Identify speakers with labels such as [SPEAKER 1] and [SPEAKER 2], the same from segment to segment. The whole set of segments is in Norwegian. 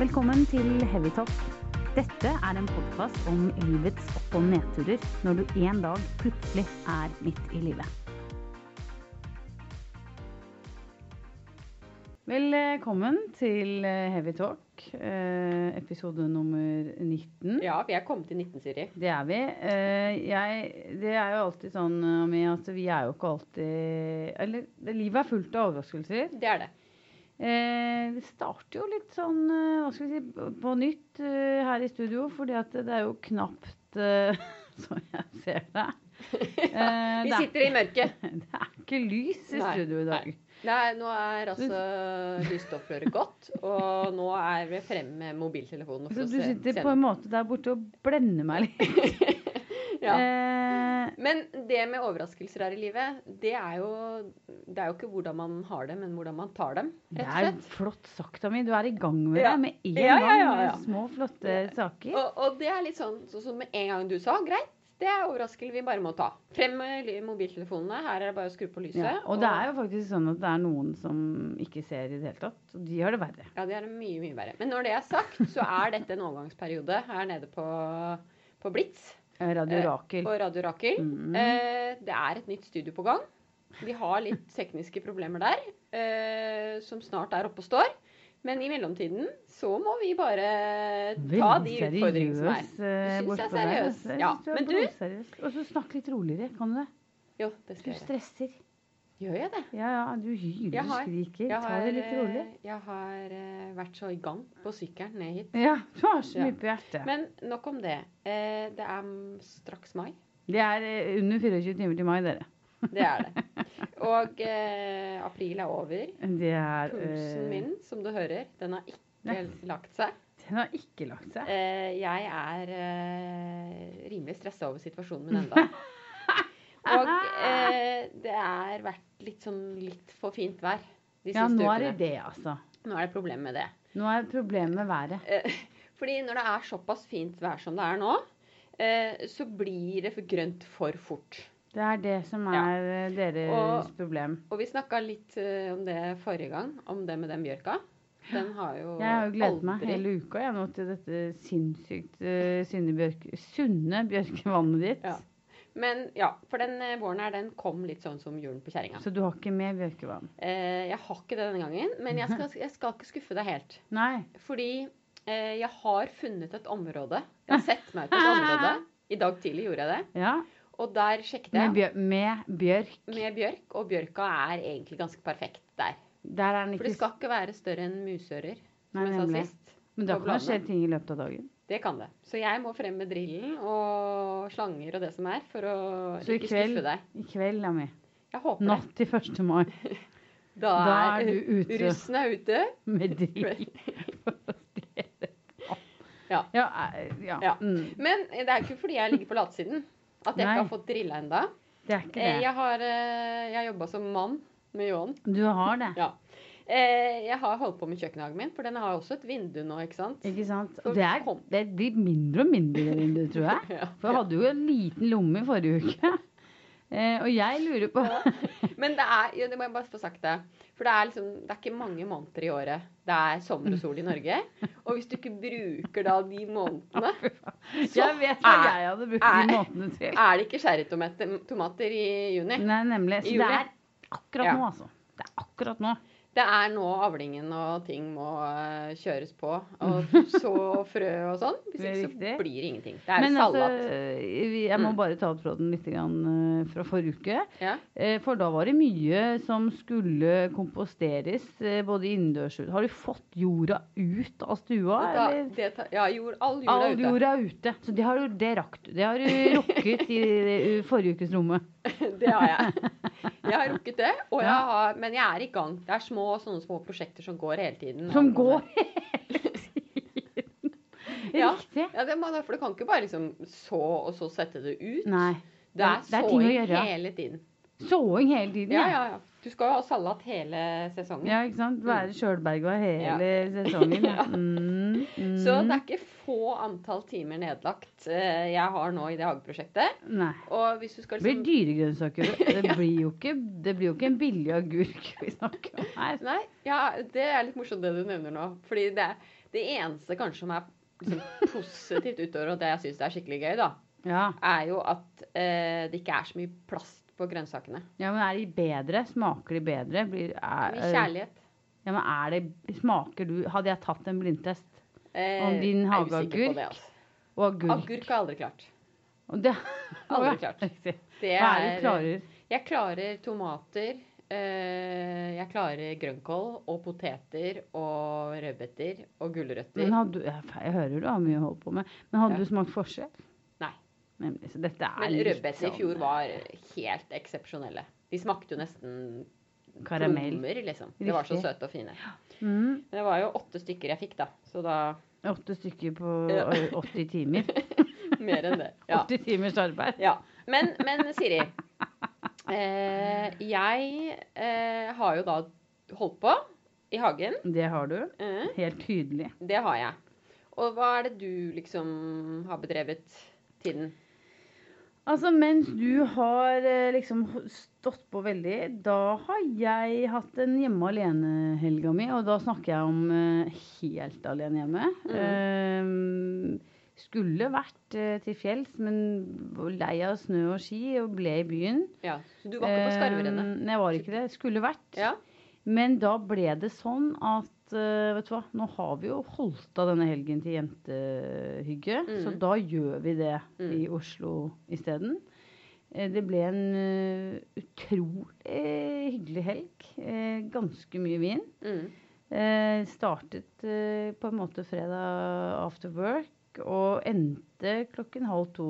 [SPEAKER 1] Velkommen til Heavytop. Dette er en podkast om livets opp- og nedturer når du en dag plutselig er midt i livet. Velkommen til Heavy Talk, eh, episode nummer 19.
[SPEAKER 2] Ja, vi er kommet til 19, Siri.
[SPEAKER 1] Det er vi. Eh, Jeg, det er jo alltid sånn eh, med at vi er jo ikke alltid Eller det- livet er fullt av overraskelser.
[SPEAKER 2] Det er det.
[SPEAKER 1] Eh, det starter jo litt sånn eh, hva skal vi si, på- på nytt eh, her i studio, fordi at det er jo knapt eh, som jeg ser det. Eh,
[SPEAKER 2] Vi
[SPEAKER 1] det,
[SPEAKER 2] sitter i mørket.
[SPEAKER 1] er, det er ikke lys i
[SPEAKER 2] Nei,
[SPEAKER 1] studio i dag.
[SPEAKER 2] Nei, nå er altså lysstoffrøret gått, og nå er vi fremme med mobiltelefonen.
[SPEAKER 1] Så du sitter på en måte der borte og blender meg litt.
[SPEAKER 2] ja.
[SPEAKER 1] Eh,
[SPEAKER 2] Men det med overraskelser her i livet, det er jo Det er jo ikke hvordan man har dem, men hvordan man tar dem,
[SPEAKER 1] det
[SPEAKER 2] rett og
[SPEAKER 1] er
[SPEAKER 2] slett.
[SPEAKER 1] flott sagt av meg. Du er i gang med
[SPEAKER 2] Ja.
[SPEAKER 1] det med en
[SPEAKER 2] Ja, ja, ja,
[SPEAKER 1] gang.
[SPEAKER 2] ja.
[SPEAKER 1] Med små, flotte saker.
[SPEAKER 2] Og, og det er litt sånn sånn som med en gang du sa greit, det er overraskelser vi bare må ta. Frem med ly- mobiltelefonene. Her er det bare å skru på lyset.
[SPEAKER 1] Ja, og det er jo faktisk sånn at det er noen som ikke ser i det hele tatt. Og de har det verre.
[SPEAKER 2] Ja, det er mye, mye verre. Men når det er sagt, så er dette en overgangsperiode her nede på, på Blitz
[SPEAKER 1] Eh, Radio
[SPEAKER 2] Eh,
[SPEAKER 1] Rakel.
[SPEAKER 2] på Radio Rakel.
[SPEAKER 1] Mm.
[SPEAKER 2] Eh, det er et nytt studio på gang. Vi har litt tekniske problemer der, eh, som snart er oppe og står. Men i mellomtiden så må vi bare ta de utfordringene som er.
[SPEAKER 1] seriøs, eh,
[SPEAKER 2] Du synes jeg er
[SPEAKER 1] bortpå der,
[SPEAKER 2] seriøs.
[SPEAKER 1] altså. Jeg
[SPEAKER 2] Ja,
[SPEAKER 1] synes er
[SPEAKER 2] men du-
[SPEAKER 1] blodseriøs. Og så snakk litt roligere, kan du det?
[SPEAKER 2] Jo, det
[SPEAKER 1] Du
[SPEAKER 2] skal jeg gjøre.
[SPEAKER 1] stresser.
[SPEAKER 2] Gjør jeg det?
[SPEAKER 1] Ja, ja, du hyler,
[SPEAKER 2] Jeg
[SPEAKER 1] du
[SPEAKER 2] har-
[SPEAKER 1] skriker.
[SPEAKER 2] Jeg
[SPEAKER 1] Ta
[SPEAKER 2] har,
[SPEAKER 1] det litt rolig.
[SPEAKER 2] eh, jeg har eh, vært så i gang på sykkelen ned hit.
[SPEAKER 1] Ja, du har så
[SPEAKER 2] Ja.
[SPEAKER 1] mye på hjertet.
[SPEAKER 2] Men nok om det. Eh, det er mm, straks mai.
[SPEAKER 1] det er eh, under 24 timer til mai, dere.
[SPEAKER 2] Det er det. Og eh, april er over.
[SPEAKER 1] Det er
[SPEAKER 2] Pulsen
[SPEAKER 1] eh,
[SPEAKER 2] min, som du hører, den har ikke
[SPEAKER 1] Nei.
[SPEAKER 2] lagt seg.
[SPEAKER 1] Den har ikke lagt seg.
[SPEAKER 2] Eh, jeg er eh, rimelig stressa over situasjonen min enda. Og eh, det er vært litt sånn litt for fint vær de
[SPEAKER 1] Ja,
[SPEAKER 2] siste
[SPEAKER 1] nå er det
[SPEAKER 2] ukene.
[SPEAKER 1] det, altså.
[SPEAKER 2] Nå er det problem med det.
[SPEAKER 1] Nå er problemet med været.
[SPEAKER 2] Eh, fordi når det er såpass fint vær som det er nå, eh, så blir det for grønt for fort.
[SPEAKER 1] Det er det som
[SPEAKER 2] Ja.
[SPEAKER 1] er eh, deres
[SPEAKER 2] Og-
[SPEAKER 1] problem.
[SPEAKER 2] Og vi snakka litt eh, om det forrige gang, om det med den bjørka. Den har jo
[SPEAKER 1] Jeg har jo gledet meg
[SPEAKER 2] aldri-
[SPEAKER 1] hele uka jeg nå til dette sinnssykt eh, sunne, bjørke, sunne bjørkevannet ditt.
[SPEAKER 2] Ja. Men ja, for den eh, våren her, den kom litt sånn som julen på kjerringa.
[SPEAKER 1] Så du har ikke med bjørkevann?
[SPEAKER 2] Eh, jeg har ikke det denne gangen, men jeg skal, jeg skal ikke skuffe deg helt.
[SPEAKER 1] Nei.
[SPEAKER 2] Fordi eh, jeg har funnet et område. Jeg har sett meg ut et område. I dag tidlig gjorde jeg det.
[SPEAKER 1] Ja.
[SPEAKER 2] Og der sjekket
[SPEAKER 1] Med,
[SPEAKER 2] jeg.
[SPEAKER 1] bjør med bjørk.
[SPEAKER 2] Med bjørk, og bjørka er egentlig ganske perfekt der.
[SPEAKER 1] Der er den
[SPEAKER 2] For
[SPEAKER 1] ikke
[SPEAKER 2] det skal ikke være større enn musører, som
[SPEAKER 1] Nei,
[SPEAKER 2] jeg sa
[SPEAKER 1] nemlig.
[SPEAKER 2] sist.
[SPEAKER 1] Men da
[SPEAKER 2] på
[SPEAKER 1] kan det skje
[SPEAKER 2] bladene.
[SPEAKER 1] ting i løpet av dagen.
[SPEAKER 2] Det kan det. Så jeg må frem med drillen og slanger og det som er, for å
[SPEAKER 1] Så i
[SPEAKER 2] ikke
[SPEAKER 1] kveld-
[SPEAKER 2] skuffe deg.
[SPEAKER 1] I kveld, Lami.
[SPEAKER 2] Jeg håper
[SPEAKER 1] Natt til 1. mai.
[SPEAKER 2] det. Da
[SPEAKER 1] Da
[SPEAKER 2] er
[SPEAKER 1] er du ute
[SPEAKER 2] Russen er ute.
[SPEAKER 1] med drill. for å stjele vann.
[SPEAKER 2] Ja.
[SPEAKER 1] Ja. eh, ja.
[SPEAKER 2] Ja.
[SPEAKER 1] Mm.
[SPEAKER 2] Men det er ikke fordi jeg ligger på latsiden at jeg
[SPEAKER 1] Nei.
[SPEAKER 2] ikke har fått drilla enda.
[SPEAKER 1] Det er ikke
[SPEAKER 2] Eh,
[SPEAKER 1] det.
[SPEAKER 2] Jeg har, eh, jeg har jobba som mann med ljåen.
[SPEAKER 1] Du har det.
[SPEAKER 2] Ja. Eh, Jeg har holdt på med kjøkkenhagen min, for den har også et vindu nå, ikke sant?
[SPEAKER 1] Ikke sant?
[SPEAKER 2] Så
[SPEAKER 1] Og det, er,
[SPEAKER 2] kom-
[SPEAKER 1] det blir mindre og mindre det vinduet, tror jeg.
[SPEAKER 2] Ja.
[SPEAKER 1] For jeg hadde jo en liten lomme i forrige uke. Eh, og jeg lurer på
[SPEAKER 2] Men det er ja, det må jeg bare få sagt det. For det er liksom, det er ikke mange måneder i året det er sommer og sol i Norge. Og hvis du ikke bruker da de månedene, så
[SPEAKER 1] Jeg vet hva jeg hadde brukt de
[SPEAKER 2] er-
[SPEAKER 1] måtedene til.
[SPEAKER 2] er det ikke sherrytomater i juni.
[SPEAKER 1] Nei, nemlig. Så
[SPEAKER 2] I
[SPEAKER 1] det
[SPEAKER 2] juli.
[SPEAKER 1] er akkurat
[SPEAKER 2] Ja.
[SPEAKER 1] nå, altså. Det er akkurat nå.
[SPEAKER 2] Det er nå avlingen og ting må eh, kjøres på. Og så frø og sånn. Hvis
[SPEAKER 1] Mm. Det er
[SPEAKER 2] ikke
[SPEAKER 1] riktig.
[SPEAKER 2] så blir det ingenting. Det er
[SPEAKER 1] Men
[SPEAKER 2] salat.
[SPEAKER 1] altså, vi- jeg må
[SPEAKER 2] Mm.
[SPEAKER 1] bare ta opp tråden litt grann, eh, fra forrige uke.
[SPEAKER 2] ja.
[SPEAKER 1] Eh, For da var det mye som skulle komposteres, eh, både innendørs og Har du fått jorda ut av stua?
[SPEAKER 2] da,
[SPEAKER 1] eller?
[SPEAKER 2] det tar, ja, jord, all jord er
[SPEAKER 1] All
[SPEAKER 2] ute.
[SPEAKER 1] jorda er ute. Så det har du, det rakk du. Det har du rukket i i forrige ukes rommet.
[SPEAKER 2] Det har jeg. Jeg har rukket det. Og
[SPEAKER 1] Ja.
[SPEAKER 2] jeg har, men jeg er i gang. Det er små, sånne små prosjekter som går hele tiden.
[SPEAKER 1] Som går hele tiden.
[SPEAKER 2] Ja.
[SPEAKER 1] Riktig.
[SPEAKER 2] Ja, det må, da, For du kan ikke bare liksom så og så sette det ut.
[SPEAKER 1] Nei.
[SPEAKER 2] Det er,
[SPEAKER 1] det er ting å
[SPEAKER 2] såing
[SPEAKER 1] gjøre.
[SPEAKER 2] hele tiden.
[SPEAKER 1] Såing hele tiden,
[SPEAKER 2] Ja, ja, ja. Du skal jo ha salat hele sesongen.
[SPEAKER 1] Ja, ikke sant? Være sjølberga hele sesongen. Ja.
[SPEAKER 2] Mm. Ja.
[SPEAKER 1] Mm, mm.
[SPEAKER 2] Så det er ikke få antall timer nedlagt eh, jeg har nå i det hageprosjektet.
[SPEAKER 1] Nei.
[SPEAKER 2] Og hvis du skal
[SPEAKER 1] Det blir
[SPEAKER 2] liksom
[SPEAKER 1] dyregrønnsaker. Det blir jo ikke, det blir jo ikke en billig agurk vi snakker om her.
[SPEAKER 2] Nei, ja, det er litt morsomt det du nevner nå. Fordi det, er- Det eneste kanskje som er liksom positivt utover, og det jeg syns er skikkelig gøy, da,
[SPEAKER 1] Ja.
[SPEAKER 2] er jo at eh, det ikke er så mye plast på grønnsakene.
[SPEAKER 1] ja, men er de bedre? Smaker de bedre? Blir, er,
[SPEAKER 2] Mye kjærlighet.
[SPEAKER 1] ja, men er det, smaker du Hadde jeg tatt en blindtest
[SPEAKER 2] Eh,
[SPEAKER 1] Om din
[SPEAKER 2] jeg er
[SPEAKER 1] hageagurk?
[SPEAKER 2] usikker på det, altså.
[SPEAKER 1] og agurk
[SPEAKER 2] Agurk har jeg aldri klart.
[SPEAKER 1] og det,
[SPEAKER 2] Aldri klart.
[SPEAKER 1] Riktig.
[SPEAKER 2] Det
[SPEAKER 1] Hva er det du klarer?
[SPEAKER 2] Jeg klarer tomater. eh, jeg klarer grønnkål og poteter og rødbeter og gulrøtter.
[SPEAKER 1] Men hadde, du- jeg, jeg hører du har mye å holde på med, men hadde
[SPEAKER 2] Ja.
[SPEAKER 1] du smakt forskjell?
[SPEAKER 2] Nei.
[SPEAKER 1] Nemlig, så dette er
[SPEAKER 2] Men
[SPEAKER 1] litt
[SPEAKER 2] rødbeter i
[SPEAKER 1] sånn
[SPEAKER 2] fjor var helt eksepsjonelle. De smakte jo nesten
[SPEAKER 1] Karamell.
[SPEAKER 2] plommer, liksom. De var så
[SPEAKER 1] Riktig.
[SPEAKER 2] søte og fine.
[SPEAKER 1] Mm,
[SPEAKER 2] Men det var jo åtte stykker jeg fikk, da. Så da
[SPEAKER 1] åtte stykker på
[SPEAKER 2] Ja.
[SPEAKER 1] ø, 80 timer.
[SPEAKER 2] mer enn det. Ja.
[SPEAKER 1] 80 timers arbeid.
[SPEAKER 2] ja. Men, men Siri. Eh, jeg eh, har jo da holdt på i hagen.
[SPEAKER 1] Det har du.
[SPEAKER 2] Eh,
[SPEAKER 1] Helt tydelig.
[SPEAKER 2] det har jeg. Og hva er det du liksom har bedrevet tiden?
[SPEAKER 1] Altså, mens du har eh, liksom stått på veldig, da har jeg hatt en hjemme alene-helga mi. Og da snakker jeg om eh, helt alene hjemme.
[SPEAKER 2] Mm.
[SPEAKER 1] Eh, skulle vært eh, til fjells, men var lei av snø og ski og ble i byen.
[SPEAKER 2] Ja, så Du var ikke på skarverennet?
[SPEAKER 1] Eh, Nei, jeg var ikke det. Skulle vært.
[SPEAKER 2] Ja.
[SPEAKER 1] Men da ble det sånn at eh, vet du hva, nå har vi jo holdt av denne helgen til jentehygge, så
[SPEAKER 2] Mm.
[SPEAKER 1] da gjør vi det
[SPEAKER 2] Mm.
[SPEAKER 1] i Oslo isteden. Eh, Det ble en eh, utrolig hyggelig helg. eh, Ganske mye vin.
[SPEAKER 2] Mm.
[SPEAKER 1] Eh, startet eh, på en måte fredag after work og endte klokken halv to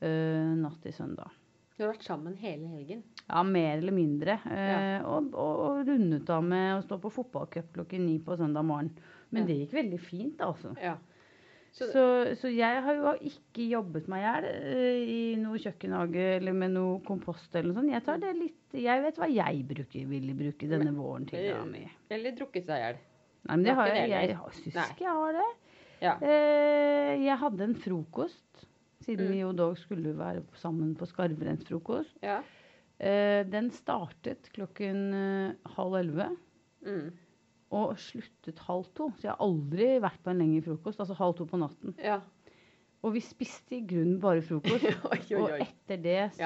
[SPEAKER 1] eh, natt til søndag.
[SPEAKER 2] Du har vært sammen hele helgen?
[SPEAKER 1] Ja, mer eller mindre. Eh, og, og, og rundet av med å stå på fotballcup klokken ni på søndag morgen. Men
[SPEAKER 2] Ja.
[SPEAKER 1] det gikk veldig fint, altså.
[SPEAKER 2] Ja.
[SPEAKER 1] Så,
[SPEAKER 2] Så-
[SPEAKER 1] så, jeg har jo ikke jobbet meg i hjel eh, i noe kjøkkenhage eller med noe kompost eller noe sånt. Jeg tar det litt Jeg vet hva jeg bruker, ville bruke denne våren til.
[SPEAKER 2] eh,
[SPEAKER 1] da, mi.
[SPEAKER 2] Eller drukket seg i hjel?
[SPEAKER 1] Nei, men det
[SPEAKER 2] Var
[SPEAKER 1] har
[SPEAKER 2] ikke
[SPEAKER 1] jeg.
[SPEAKER 2] det
[SPEAKER 1] Jeg
[SPEAKER 2] heller?
[SPEAKER 1] syns
[SPEAKER 2] Nei.
[SPEAKER 1] ikke jeg har det.
[SPEAKER 2] Ja.
[SPEAKER 1] Eh, jeg hadde en frokost, siden
[SPEAKER 2] Mm.
[SPEAKER 1] vi jo dog skulle være sammen på skarvrennsfrokost.
[SPEAKER 2] ja.
[SPEAKER 1] Eh, den startet klokken eh, halv elleve
[SPEAKER 2] Mm.
[SPEAKER 1] og sluttet halv to. Så jeg har aldri vært på en lengre frokost. Altså halv to på natten.
[SPEAKER 2] ja.
[SPEAKER 1] Og vi spiste i grunnen bare frokost.
[SPEAKER 2] oi,
[SPEAKER 1] Og
[SPEAKER 2] oi, oi.
[SPEAKER 1] etter det så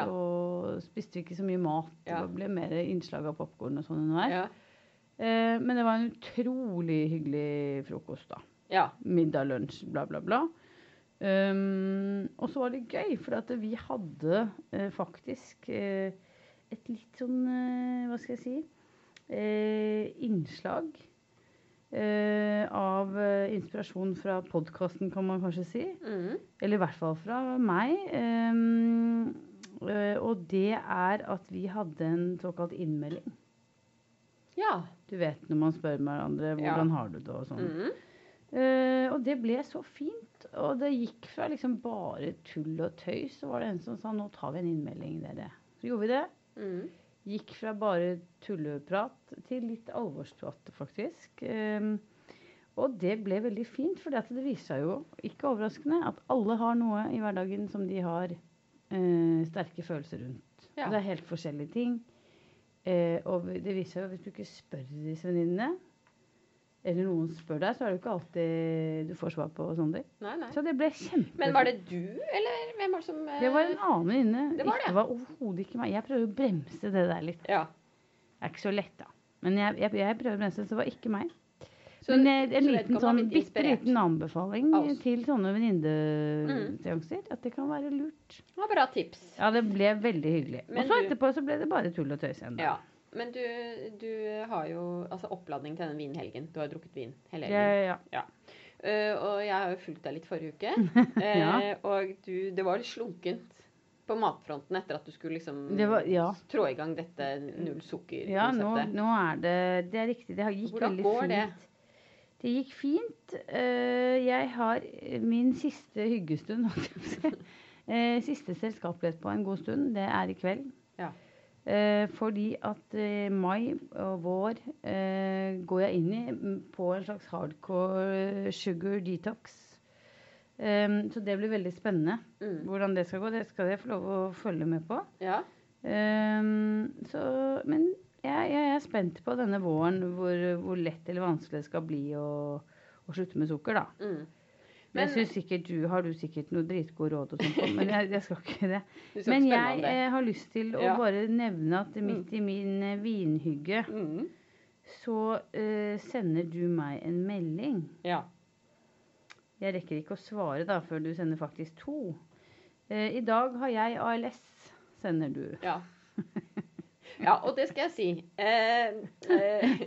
[SPEAKER 2] Ja.
[SPEAKER 1] spiste vi ikke så mye mat.
[SPEAKER 2] Ja.
[SPEAKER 1] Det ble mer innslag av popkorn og sånn underveis.
[SPEAKER 2] Ja.
[SPEAKER 1] Eh, men det var en utrolig hyggelig frokost, da.
[SPEAKER 2] ja.
[SPEAKER 1] middag, lunsj, bla, bla, bla. Um, og så var det gøy, for at vi hadde eh, faktisk eh, et litt sånn eh, Hva skal jeg si eh, Innslag eh, av eh, inspirasjon fra podkasten, kan man kanskje si.
[SPEAKER 2] Mm.
[SPEAKER 1] Eller i hvert fall fra meg. Um, eh, og det er at vi hadde en såkalt innmelding.
[SPEAKER 2] Ja.
[SPEAKER 1] Du vet når man spør hverandre
[SPEAKER 2] Ja.
[SPEAKER 1] 'Hvordan har du det?' og sånn.
[SPEAKER 2] Mm.
[SPEAKER 1] Eh, og det ble så fint. Og det gikk fra liksom bare tull og tøys, så var det en som sa nå tar vi en innmelding, dere. Så gjorde vi det.
[SPEAKER 2] Mm.
[SPEAKER 1] Gikk fra bare tulleprat til litt alvorsprat, faktisk. Eh, og det ble veldig fint, for det viser seg jo, ikke overraskende, at alle har noe i hverdagen som de har eh, sterke følelser rundt.
[SPEAKER 2] Ja.
[SPEAKER 1] Og det er helt forskjellige ting. Eh, og det viser seg jo at hvis du ikke spør disse venninnene, eller noen spør deg, så er det jo ikke alltid du får svar på sånne ting.
[SPEAKER 2] Nei, nei.
[SPEAKER 1] Så det ble kjempefint.
[SPEAKER 2] Men var det du, eller hvem var det som eh,
[SPEAKER 1] Det var en annen venninne.
[SPEAKER 2] Det var
[SPEAKER 1] Ikke-
[SPEAKER 2] det.
[SPEAKER 1] det var overhodet ikke meg. Jeg prøver å bremse det der litt.
[SPEAKER 2] Ja.
[SPEAKER 1] Det er ikke så lett, da. Men jeg, jeg, jeg prøver å bremse det, så det var ikke meg.
[SPEAKER 2] Så,
[SPEAKER 1] Men eh, en liten
[SPEAKER 2] så vedkommende har
[SPEAKER 1] sånn,
[SPEAKER 2] blitt
[SPEAKER 1] bitte
[SPEAKER 2] inspirert.
[SPEAKER 1] liten anbefaling eh,
[SPEAKER 2] Altså.
[SPEAKER 1] til sånne venninneseanser. At det kan være lurt.
[SPEAKER 2] Det var bra tips.
[SPEAKER 1] Ja, det ble veldig hyggelig.
[SPEAKER 2] Men
[SPEAKER 1] Og så
[SPEAKER 2] du-
[SPEAKER 1] etterpå så ble det bare tull og tøys ennå.
[SPEAKER 2] Ja. Men du, du har jo altså oppladning til denne vinhelgen. Du har drukket vin hele helgen.
[SPEAKER 1] Ja, ja.
[SPEAKER 2] Eh, og jeg har jo fulgt deg litt forrige uke. Eh,
[SPEAKER 1] Ja.
[SPEAKER 2] Og du, det var litt slunkent på matfronten etter at du skulle liksom
[SPEAKER 1] Det var- ja.
[SPEAKER 2] trå i gang dette null sukker-konseptet.
[SPEAKER 1] Ja, nå, nå er det Det er riktig. Det har- gikk
[SPEAKER 2] Hvordan
[SPEAKER 1] veldig
[SPEAKER 2] går
[SPEAKER 1] fint.
[SPEAKER 2] det?
[SPEAKER 1] Det gikk fint. Eh, Jeg har min siste hyggestund, holdt jeg på å si. Eh, Siste selskapelighet på en god stund. Det er i kveld.
[SPEAKER 2] Ja.
[SPEAKER 1] Eh, Fordi at eh, mai og vår eh, går jeg inn i mm, på en slags hardcore sugar detox. Eh, Så det blir veldig spennende.
[SPEAKER 2] Mm.
[SPEAKER 1] Hvordan det skal gå, det skal jeg få lov å følge med på.
[SPEAKER 2] Ja.
[SPEAKER 1] Ehm, så, men jeg, jeg er spent på denne våren hvor, hvor lett eller vanskelig det skal bli å, å slutte med sukker, da.
[SPEAKER 2] Mm.
[SPEAKER 1] Men,
[SPEAKER 2] Men-
[SPEAKER 1] jeg synes sikkert du, Har du sikkert noe dritgode råd og sånt, på, men jeg, jeg skal ikke det.
[SPEAKER 2] Du skal
[SPEAKER 1] Men
[SPEAKER 2] ikke spørre meg
[SPEAKER 1] jeg
[SPEAKER 2] om det.
[SPEAKER 1] eh, har lyst til å
[SPEAKER 2] Ja.
[SPEAKER 1] bare nevne at midt i min eh, vinhygge
[SPEAKER 2] Mm.
[SPEAKER 1] så eh, sender du meg en melding.
[SPEAKER 2] Ja.
[SPEAKER 1] Jeg rekker ikke å svare da før du sender faktisk to. Eh, I dag har jeg ALS, sender du.
[SPEAKER 2] Ja. Ja, og det skal jeg si. Eh, eh,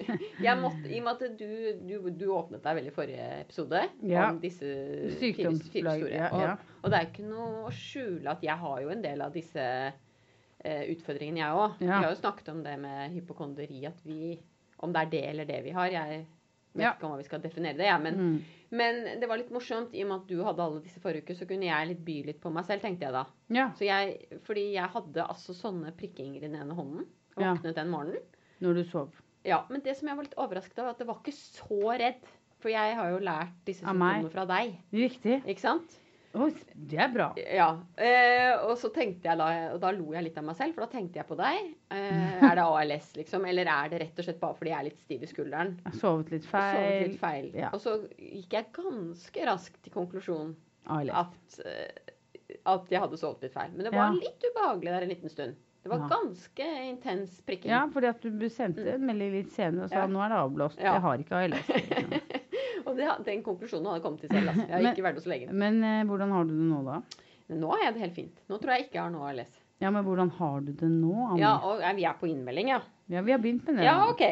[SPEAKER 2] jeg måtte, I og med at du, du, du åpnet deg veldig i forrige episode
[SPEAKER 1] Ja.
[SPEAKER 2] om disse fire, fire
[SPEAKER 1] Sykdomsplagg.
[SPEAKER 2] store.
[SPEAKER 1] Ja,
[SPEAKER 2] Og,
[SPEAKER 1] ja.
[SPEAKER 2] og det er ikke noe å skjule at jeg har jo en del av disse eh, utfordringene, jeg òg. Vi
[SPEAKER 1] Ja.
[SPEAKER 2] har jo snakket om det med hypokonderi, at vi Om det er det eller det vi har. Jeg vet
[SPEAKER 1] Ja.
[SPEAKER 2] ikke om hva vi skal definere det, jeg. Men,
[SPEAKER 1] Mm.
[SPEAKER 2] men det var litt morsomt. I og med at du hadde alle disse forrige uke, så kunne jeg litt by litt på meg selv, tenkte jeg da.
[SPEAKER 1] ja.
[SPEAKER 2] Så jeg, fordi jeg hadde altså sånne prikkinger i den ene hånden. og
[SPEAKER 1] Ja.
[SPEAKER 2] Våknet den morgenen.
[SPEAKER 1] Når du sov.
[SPEAKER 2] Ja, Men det som jeg var litt overrasket av, var at det var ikke så redd. For jeg har jo lært disse
[SPEAKER 1] Av meg.
[SPEAKER 2] symptomene fra deg.
[SPEAKER 1] Riktig.
[SPEAKER 2] Ikke sant?
[SPEAKER 1] Oi, det er bra.
[SPEAKER 2] Ja. Eh, og så tenkte jeg da, og da lo jeg litt av meg selv, for da tenkte jeg på deg. Eh, er det ALS, liksom? Eller er det rett og slett bare fordi jeg er litt stiv i skulderen?
[SPEAKER 1] Jeg har sovet litt
[SPEAKER 2] Og sovet
[SPEAKER 1] feil.
[SPEAKER 2] litt feil.
[SPEAKER 1] Ja.
[SPEAKER 2] Og så gikk jeg ganske raskt til konklusjonen
[SPEAKER 1] ALS.
[SPEAKER 2] at, eh, at jeg hadde sovet litt feil. Men det
[SPEAKER 1] Ja.
[SPEAKER 2] var litt ubehagelig der en liten stund. Det var
[SPEAKER 1] Ja.
[SPEAKER 2] ganske intens prikking.
[SPEAKER 1] Ja, fordi at du sendte en melding litt senere og sa
[SPEAKER 2] Mm. Ja.
[SPEAKER 1] nå er det avblåst.
[SPEAKER 2] Ja.
[SPEAKER 1] Jeg har ikke ALS. liksom.
[SPEAKER 2] Og det, den konklusjonen hadde jeg kommet til selv. Altså. Jeg har
[SPEAKER 1] Men-
[SPEAKER 2] ikke vært hos legen.
[SPEAKER 1] Men eh, hvordan har du det nå, da?
[SPEAKER 2] Men nå har jeg det helt fint. Nå tror jeg ikke jeg har noe ALS.
[SPEAKER 1] Ja, men hvordan har du det nå, Anne?
[SPEAKER 2] Ja,
[SPEAKER 1] Ja,
[SPEAKER 2] og eh, vi er på innmelding, ja.
[SPEAKER 1] vi har begynt med det.
[SPEAKER 2] Ja,
[SPEAKER 1] nå.
[SPEAKER 2] OK.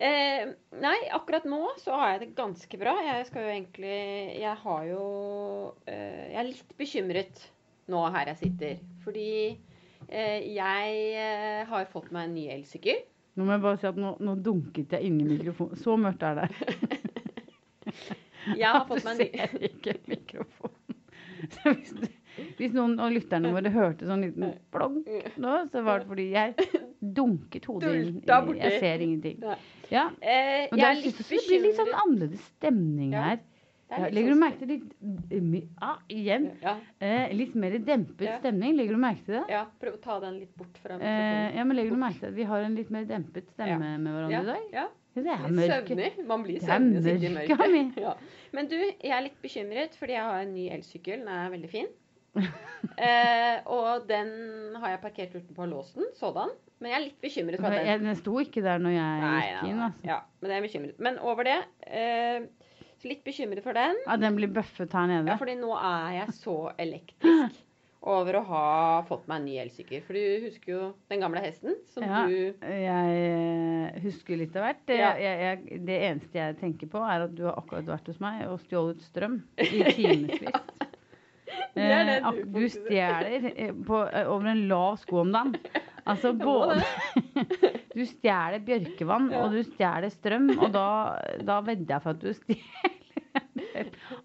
[SPEAKER 2] Eh, nei, akkurat nå så har jeg det ganske bra. Jeg skal jo egentlig Jeg har jo eh, Jeg er litt bekymret nå her jeg sitter. Fordi eh, jeg eh, har fått meg en ny elsykkel.
[SPEAKER 1] Nå må jeg bare si at nå, nå dunket jeg inni mikrofonen. Så mørkt er det.
[SPEAKER 2] Jeg har fått meg en ny
[SPEAKER 1] Du ser ikke mikrofonen. Så hvis, du, hvis noen av lytterne våre hørte sånn liten
[SPEAKER 2] Mm.
[SPEAKER 1] plong nå, så var det fordi jeg dunket hodet inn.
[SPEAKER 2] Dulta
[SPEAKER 1] i-
[SPEAKER 2] borti.
[SPEAKER 1] Jeg ser ingenting.
[SPEAKER 2] Nei.
[SPEAKER 1] Ja,
[SPEAKER 2] Eh,
[SPEAKER 1] men
[SPEAKER 2] jeg
[SPEAKER 1] der
[SPEAKER 2] er litt
[SPEAKER 1] synes jeg det blir litt sånn
[SPEAKER 2] bekymret.
[SPEAKER 1] annerledes stemning
[SPEAKER 2] Ja,
[SPEAKER 1] her.
[SPEAKER 2] Det er
[SPEAKER 1] Ja,
[SPEAKER 2] litt
[SPEAKER 1] legger du
[SPEAKER 2] sånn-
[SPEAKER 1] merke til litt ah, Igjen.
[SPEAKER 2] Ja,
[SPEAKER 1] Eh, litt mer dempet
[SPEAKER 2] Ja.
[SPEAKER 1] stemning. Legger du merke til det?
[SPEAKER 2] ja, prøv å ta den litt bort fra mikrofonen.
[SPEAKER 1] Eh, ja, men legger du merke til at vi har en litt mer dempet
[SPEAKER 2] sånn. Ja.
[SPEAKER 1] stemme med hverandre
[SPEAKER 2] ja,
[SPEAKER 1] i dag?
[SPEAKER 2] ja.
[SPEAKER 1] Ja, Det er
[SPEAKER 2] Litt
[SPEAKER 1] mørke.
[SPEAKER 2] søvnig. Man blir
[SPEAKER 1] Det er
[SPEAKER 2] søvnig og sitter i
[SPEAKER 1] mørket,
[SPEAKER 2] mørket.
[SPEAKER 1] Ami.
[SPEAKER 2] Ja. Men du, jeg er litt bekymret fordi jeg har en ny elsykkel. Den er veldig fin. eh, og den har jeg parkert utenpå låsen, sådan. Men jeg er litt bekymret for at den
[SPEAKER 1] Jeg- Den sto ikke der når jeg
[SPEAKER 2] Nei,
[SPEAKER 1] gikk
[SPEAKER 2] nei,
[SPEAKER 1] inn.
[SPEAKER 2] nei.
[SPEAKER 1] Altså.
[SPEAKER 2] Ja, men jeg er bekymret. Men over det eh, så Litt bekymret for den.
[SPEAKER 1] Ja, den blir bøffet her nede.
[SPEAKER 2] Ja, fordi nå er jeg så elektrisk over å ha fått meg en ny elsykkel. For du husker jo den gamle hesten som
[SPEAKER 1] Ja. Jeg
[SPEAKER 2] du
[SPEAKER 1] eh, husker litt av hvert. Det,
[SPEAKER 2] Ja.
[SPEAKER 1] jeg, jeg, det eneste jeg tenker på, er at du har akkurat vært hos meg og stjålet strøm i timevis.
[SPEAKER 2] Det er det
[SPEAKER 1] Eh, ak-
[SPEAKER 2] du
[SPEAKER 1] du
[SPEAKER 2] fokuserer.
[SPEAKER 1] stjeler eh, på, eh, over en lav sko om dagen. Altså
[SPEAKER 2] må
[SPEAKER 1] både Du stjeler bjørkevann,
[SPEAKER 2] Ja.
[SPEAKER 1] og du stjeler strøm, og da, da vedder jeg for at du stjeler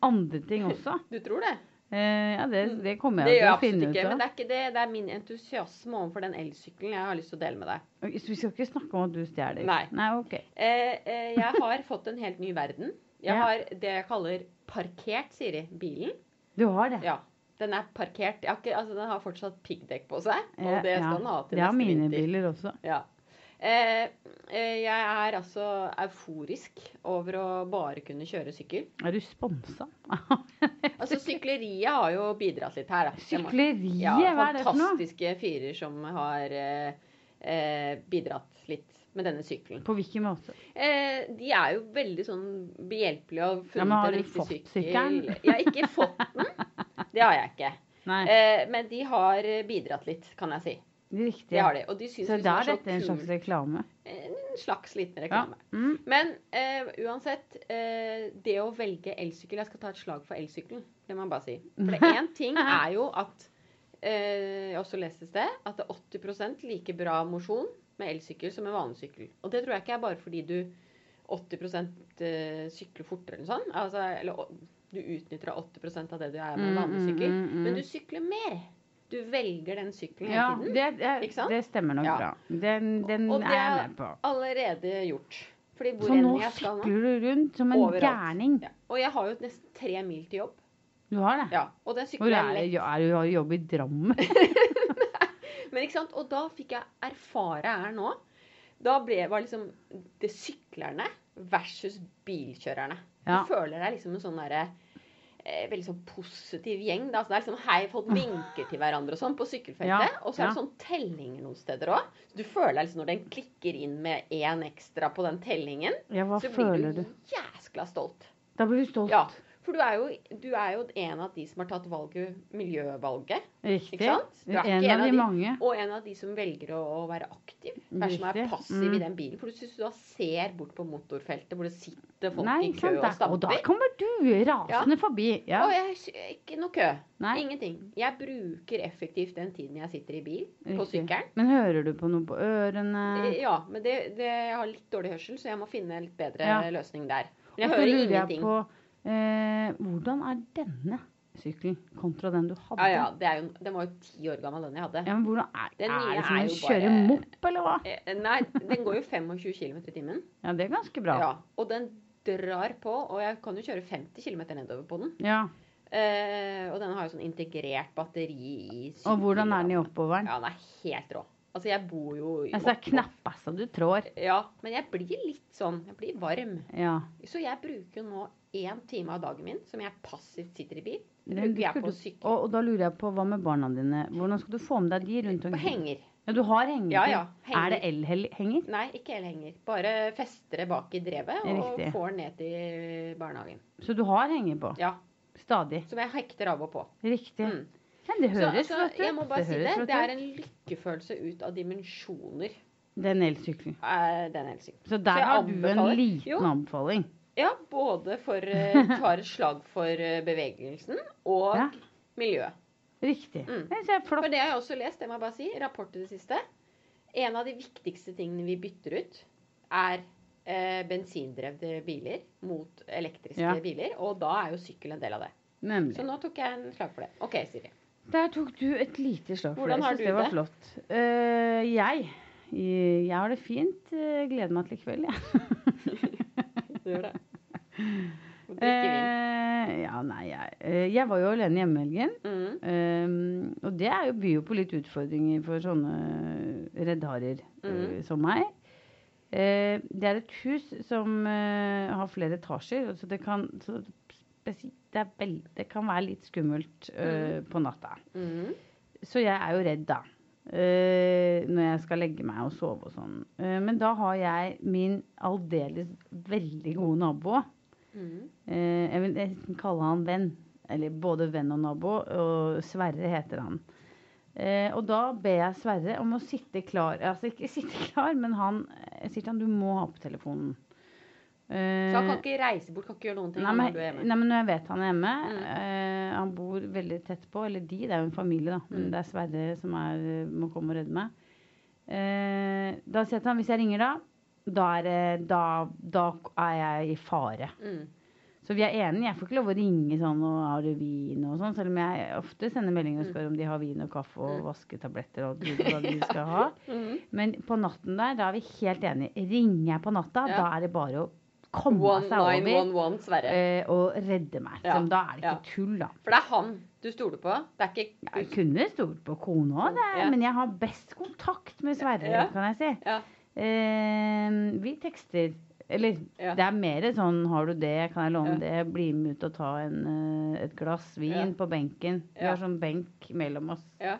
[SPEAKER 1] andre ting også.
[SPEAKER 2] Du tror det?
[SPEAKER 1] Eh, ja, det, det kommer
[SPEAKER 2] Mm. Det
[SPEAKER 1] jeg til
[SPEAKER 2] gjør jeg
[SPEAKER 1] å
[SPEAKER 2] absolutt
[SPEAKER 1] finne
[SPEAKER 2] ikke. Men
[SPEAKER 1] ut
[SPEAKER 2] det
[SPEAKER 1] av.
[SPEAKER 2] er, ikke det, det er min entusiasme overfor den elsykkelen jeg har lyst til å dele med deg.
[SPEAKER 1] Ok, Så vi skal ikke snakke om at du stjeler?
[SPEAKER 2] Nei.
[SPEAKER 1] Nei, ok.
[SPEAKER 2] Eh, eh, jeg har fått en helt ny verden. Jeg
[SPEAKER 1] Ja.
[SPEAKER 2] har det jeg kaller parkert, Siri. Bilen.
[SPEAKER 1] Du har det?
[SPEAKER 2] Ja. Den er parkert. Jeg har ikke, altså, den har fortsatt piggdekk på seg. Og det skal den ha til
[SPEAKER 1] Eh, Det har
[SPEAKER 2] neste
[SPEAKER 1] mine
[SPEAKER 2] vinter.
[SPEAKER 1] biler også.
[SPEAKER 2] Ja. Eh, eh, jeg er altså euforisk over å bare kunne kjøre sykkel.
[SPEAKER 1] Er du sponsa?
[SPEAKER 2] Altså, sykleriet har jo bidratt litt her, da. Det må-
[SPEAKER 1] Sykleriet,
[SPEAKER 2] Ja,
[SPEAKER 1] hva er det for noe?
[SPEAKER 2] fantastiske fyrer som har eh, eh, bidratt litt med denne sykkelen.
[SPEAKER 1] På hvilken måte?
[SPEAKER 2] Eh, de er jo veldig sånn behjelpelige og funnet
[SPEAKER 1] Ja, men har
[SPEAKER 2] en
[SPEAKER 1] du
[SPEAKER 2] riktig
[SPEAKER 1] fått
[SPEAKER 2] sykkel.
[SPEAKER 1] sykkelen?
[SPEAKER 2] Jeg har ikke fått den. Det har jeg ikke.
[SPEAKER 1] Nei,
[SPEAKER 2] Eh, men de har bidratt litt, kan jeg si.
[SPEAKER 1] riktig.
[SPEAKER 2] Det har de. Og de syns
[SPEAKER 1] Så
[SPEAKER 2] liksom
[SPEAKER 1] da er
[SPEAKER 2] det
[SPEAKER 1] dette en
[SPEAKER 2] så
[SPEAKER 1] slags
[SPEAKER 2] kult.
[SPEAKER 1] reklame?
[SPEAKER 2] En slags liten
[SPEAKER 1] Ja.
[SPEAKER 2] reklame.
[SPEAKER 1] Mm.
[SPEAKER 2] Men eh, uansett, eh, det å velge elsykkel Jeg skal ta et slag for elsykkelen. Det må jeg bare si. For det én ting er jo at eh, Jeg også leste et sted at det er 80 like bra mosjon med elsykkel som med vanlig sykkel. Og det tror jeg ikke er bare fordi du 80 eh, sykler fortere eller sånn. Altså, eller å- du utnytter 80 av det du er med en
[SPEAKER 1] Mm,
[SPEAKER 2] vanlig
[SPEAKER 1] mm,
[SPEAKER 2] sykkel.
[SPEAKER 1] mm, mm.
[SPEAKER 2] Men du sykler mer. Du velger den sykkelen hele
[SPEAKER 1] Ja,
[SPEAKER 2] tiden.
[SPEAKER 1] det, det,
[SPEAKER 2] Ikke sant?
[SPEAKER 1] det stemmer nok
[SPEAKER 2] Ja.
[SPEAKER 1] bra. Den, den
[SPEAKER 2] Og det
[SPEAKER 1] er jeg
[SPEAKER 2] er-
[SPEAKER 1] med på.
[SPEAKER 2] Allerede gjort. Fordi hvor
[SPEAKER 1] Så nå
[SPEAKER 2] enn jeg skal nå
[SPEAKER 1] sykler du rundt som en
[SPEAKER 2] Overalt.
[SPEAKER 1] gærning.
[SPEAKER 2] ja. Og jeg har jo nesten tre mil til jobb.
[SPEAKER 1] Du har det?
[SPEAKER 2] Ja, og den
[SPEAKER 1] Hvor
[SPEAKER 2] sykkelen
[SPEAKER 1] er
[SPEAKER 2] er
[SPEAKER 1] det?
[SPEAKER 2] lett.
[SPEAKER 1] Er du har du jobb i Drammen?
[SPEAKER 2] Men ikke sant? Og da fikk jeg erfare her nå. Da ble, var liksom det syklerne versus bilkjørerne.
[SPEAKER 1] Ja.
[SPEAKER 2] Du føler deg liksom en sånn derre eh, veldig sånn positiv gjeng. Da. Så det er liksom hei, folk vinker til hverandre og sånn på sykkelfeltet.
[SPEAKER 1] Ja,
[SPEAKER 2] Og så er
[SPEAKER 1] ja.
[SPEAKER 2] det sånn tellinger noen steder òg. Så du føler deg liksom når den klikker inn med én ekstra på den tellingen,
[SPEAKER 1] Ja, hva
[SPEAKER 2] så blir
[SPEAKER 1] føler
[SPEAKER 2] du
[SPEAKER 1] du?
[SPEAKER 2] jæskla stolt.
[SPEAKER 1] Da blir du stolt.
[SPEAKER 2] Ja. For du er, jo, du er jo en av de som har tatt valget, miljøvalget.
[SPEAKER 1] Riktig.
[SPEAKER 2] Ikke sant? Du er ikke
[SPEAKER 1] en av de mange.
[SPEAKER 2] Og en av de som velger å, å være aktiv. Hver som er
[SPEAKER 1] Riktig.
[SPEAKER 2] passiv
[SPEAKER 1] Mm.
[SPEAKER 2] i den bilen. For du syns du da ser bort på motorfeltet hvor det sitter folk
[SPEAKER 1] Nei,
[SPEAKER 2] i
[SPEAKER 1] ikke
[SPEAKER 2] kø
[SPEAKER 1] sant?
[SPEAKER 2] og
[SPEAKER 1] Der, og da
[SPEAKER 2] stamper.
[SPEAKER 1] kommer du rasende forbi. Ja.
[SPEAKER 2] Å, jeg, sy- ikke noe kø.
[SPEAKER 1] Nei,
[SPEAKER 2] Ingenting. Jeg bruker effektivt den tiden jeg sitter i bil, på
[SPEAKER 1] riktig.
[SPEAKER 2] sykkelen.
[SPEAKER 1] Men hører du på noe på ørene?
[SPEAKER 2] Eh, Ja, men det, det, jeg har litt dårlig hørsel, så jeg må finne en litt bedre
[SPEAKER 1] Ja.
[SPEAKER 2] løsning der.
[SPEAKER 1] Og
[SPEAKER 2] Men jeg
[SPEAKER 1] så
[SPEAKER 2] hører
[SPEAKER 1] lurer jeg
[SPEAKER 2] ingenting.
[SPEAKER 1] på eh, hvordan er denne sykkelen kontra den du hadde?
[SPEAKER 2] Ja, ja, det er jo, den var jo ti år gammel, den jeg hadde.
[SPEAKER 1] Ja, men hvordan er,
[SPEAKER 2] Den
[SPEAKER 1] er
[SPEAKER 2] nye
[SPEAKER 1] det som
[SPEAKER 2] er
[SPEAKER 1] å
[SPEAKER 2] jo
[SPEAKER 1] kjøre
[SPEAKER 2] bare-
[SPEAKER 1] mopp, eller hva?
[SPEAKER 2] Eh, Nei, den går jo 25 km i timen.
[SPEAKER 1] Ja, det er ganske bra.
[SPEAKER 2] Ja, og den drar på, og jeg kan jo kjøre 50 km nedover på den.
[SPEAKER 1] Ja.
[SPEAKER 2] Eh, og den har jo sånn integrert batteri i
[SPEAKER 1] Og hvordan er den i
[SPEAKER 2] sykkelrammen.
[SPEAKER 1] oppoveren?
[SPEAKER 2] Ja, den er helt rå. Altså, jeg bor jo i
[SPEAKER 1] Altså, det er
[SPEAKER 2] oppå-
[SPEAKER 1] knappa så du trår.
[SPEAKER 2] Ja, men jeg blir litt sånn Jeg blir varm.
[SPEAKER 1] Ja.
[SPEAKER 2] Så jeg bruker jo nå én time av dagen min som jeg passivt sitter i bil. Det
[SPEAKER 1] Den
[SPEAKER 2] bruker jeg
[SPEAKER 1] bruker
[SPEAKER 2] på
[SPEAKER 1] du-
[SPEAKER 2] å sykle.
[SPEAKER 1] Og, og da lurer jeg på, hva med barna dine? Hvordan skal du få med deg de rundt
[SPEAKER 2] På
[SPEAKER 1] omkring?
[SPEAKER 2] henger.
[SPEAKER 1] Ja, du har henger?
[SPEAKER 2] Ja,
[SPEAKER 1] til.
[SPEAKER 2] ja. Henger.
[SPEAKER 1] Er det elhenger?
[SPEAKER 2] Nei, ikke elhenger. Bare fester det bak i drevet og
[SPEAKER 1] Riktig.
[SPEAKER 2] får den ned til barnehagen.
[SPEAKER 1] Så du har henger på?
[SPEAKER 2] Ja,
[SPEAKER 1] Stadig?
[SPEAKER 2] Som jeg hekter av og på.
[SPEAKER 1] Riktig.
[SPEAKER 2] Mm.
[SPEAKER 1] Ja, det
[SPEAKER 2] Så
[SPEAKER 1] høres
[SPEAKER 2] altså,
[SPEAKER 1] flott ut.
[SPEAKER 2] jeg må bare
[SPEAKER 1] det
[SPEAKER 2] si
[SPEAKER 1] høres
[SPEAKER 2] det.
[SPEAKER 1] flott
[SPEAKER 2] Det
[SPEAKER 1] ut.
[SPEAKER 2] er en lykkefølelse ut av dimensjoner,
[SPEAKER 1] Den elsykkelen.
[SPEAKER 2] er den elsykkelen.
[SPEAKER 1] Så der
[SPEAKER 2] jeg
[SPEAKER 1] har du en
[SPEAKER 2] anbefaler-
[SPEAKER 1] liten
[SPEAKER 2] Jo.
[SPEAKER 1] anbefaling.
[SPEAKER 2] Ja, både for eh, tar et slag for eh, bevegelsen og
[SPEAKER 1] Ja.
[SPEAKER 2] miljøet.
[SPEAKER 1] Riktig.
[SPEAKER 2] Mm.
[SPEAKER 1] Det synes jeg er
[SPEAKER 2] For
[SPEAKER 1] flott.
[SPEAKER 2] det har jeg også lest, det må jeg bare si, rapport i det siste. En av de viktigste tingene vi bytter ut, er eh, bensindrevne biler mot elektriske
[SPEAKER 1] Ja.
[SPEAKER 2] biler. Og da er jo sykkel en del av det. Så
[SPEAKER 1] Nemlig.
[SPEAKER 2] nå tok jeg en slag for det. OK, Siri.
[SPEAKER 1] Der tok du et lite slag for
[SPEAKER 2] Hvordan
[SPEAKER 1] det.
[SPEAKER 2] har
[SPEAKER 1] Jeg
[SPEAKER 2] du
[SPEAKER 1] synes det var
[SPEAKER 2] det?
[SPEAKER 1] flott. Eh, jeg jeg har det fint. Eh, Gleder meg til i kveld, jeg.
[SPEAKER 2] Du gjør det. Og drikke vin.
[SPEAKER 1] Eh, ja, nei, jeg, eh, jeg var jo alene hjemme i helgen.
[SPEAKER 2] Mm.
[SPEAKER 1] Ehm, og det er jo byr jo på litt utfordringer for sånne reddharer eh, som meg. Eh, det er et hus som eh, har flere etasjer, så det kan så spesi- det, er vel, det kan være litt skummelt eh, på natta.
[SPEAKER 2] Mm.
[SPEAKER 1] Så jeg er jo redd, da. eh, når jeg skal legge meg og sove og sånn. Eh, men da har jeg min aldeles veldig gode nabo.
[SPEAKER 2] Mm.
[SPEAKER 1] Eh, jeg vil nesten kalle han venn. Eller både venn og nabo. Og Sverre heter han. Eh, og da ber jeg Sverre om å sitte klar. Altså ikke sitte klar, men han jeg sier til han, du må ha på telefonen. Eh,
[SPEAKER 2] Så han kan ikke reise bort, kan ikke gjøre noen ting
[SPEAKER 1] nei,
[SPEAKER 2] når
[SPEAKER 1] men,
[SPEAKER 2] du er hjemme.
[SPEAKER 1] nei, men når jeg vet han er hjemme
[SPEAKER 2] Mm.
[SPEAKER 1] eh, Han bor veldig tett på, eller de, det er jo en familie, da. Men
[SPEAKER 2] Mm.
[SPEAKER 1] det er Sverre som er, må komme og redde meg. Eh, da sier jeg til han, hvis jeg ringer da, da er, det- da, da er jeg i fare.
[SPEAKER 2] Mm.
[SPEAKER 1] Så vi er enige. Jeg får ikke lov å ringe sånn og har du vin og sånn, selv om jeg ofte sender meldinger og spør om de har vin og kaffe og
[SPEAKER 2] Mm.
[SPEAKER 1] vasketabletter og alt hva de skal ha.
[SPEAKER 2] Mm.
[SPEAKER 1] Men på natten der, da er vi helt enige. Ringer jeg på natta,
[SPEAKER 2] Ja.
[SPEAKER 1] da er det bare å komme
[SPEAKER 2] One
[SPEAKER 1] seg
[SPEAKER 2] nine
[SPEAKER 1] over
[SPEAKER 2] one one, Sverre.
[SPEAKER 1] eh, og redde meg.
[SPEAKER 2] Ja.
[SPEAKER 1] Liksom. Da er det
[SPEAKER 2] Ja.
[SPEAKER 1] ikke tull, da.
[SPEAKER 2] For det er han du stoler på. Det er ikke
[SPEAKER 1] Jeg kunne stolt på kona, det,
[SPEAKER 2] Ja.
[SPEAKER 1] men jeg har best kontakt med Sverre,
[SPEAKER 2] Ja.
[SPEAKER 1] kan jeg si.
[SPEAKER 2] Ja.
[SPEAKER 1] Eh, vi tekster. Eller
[SPEAKER 2] Ja.
[SPEAKER 1] det er mer sånn Har du det? Kan jeg låne
[SPEAKER 2] Ja.
[SPEAKER 1] det? Bli med ut og ta en, eh, et glass vin
[SPEAKER 2] Ja.
[SPEAKER 1] på benken. Vi
[SPEAKER 2] Ja.
[SPEAKER 1] har sånn benk mellom oss.
[SPEAKER 2] Ja.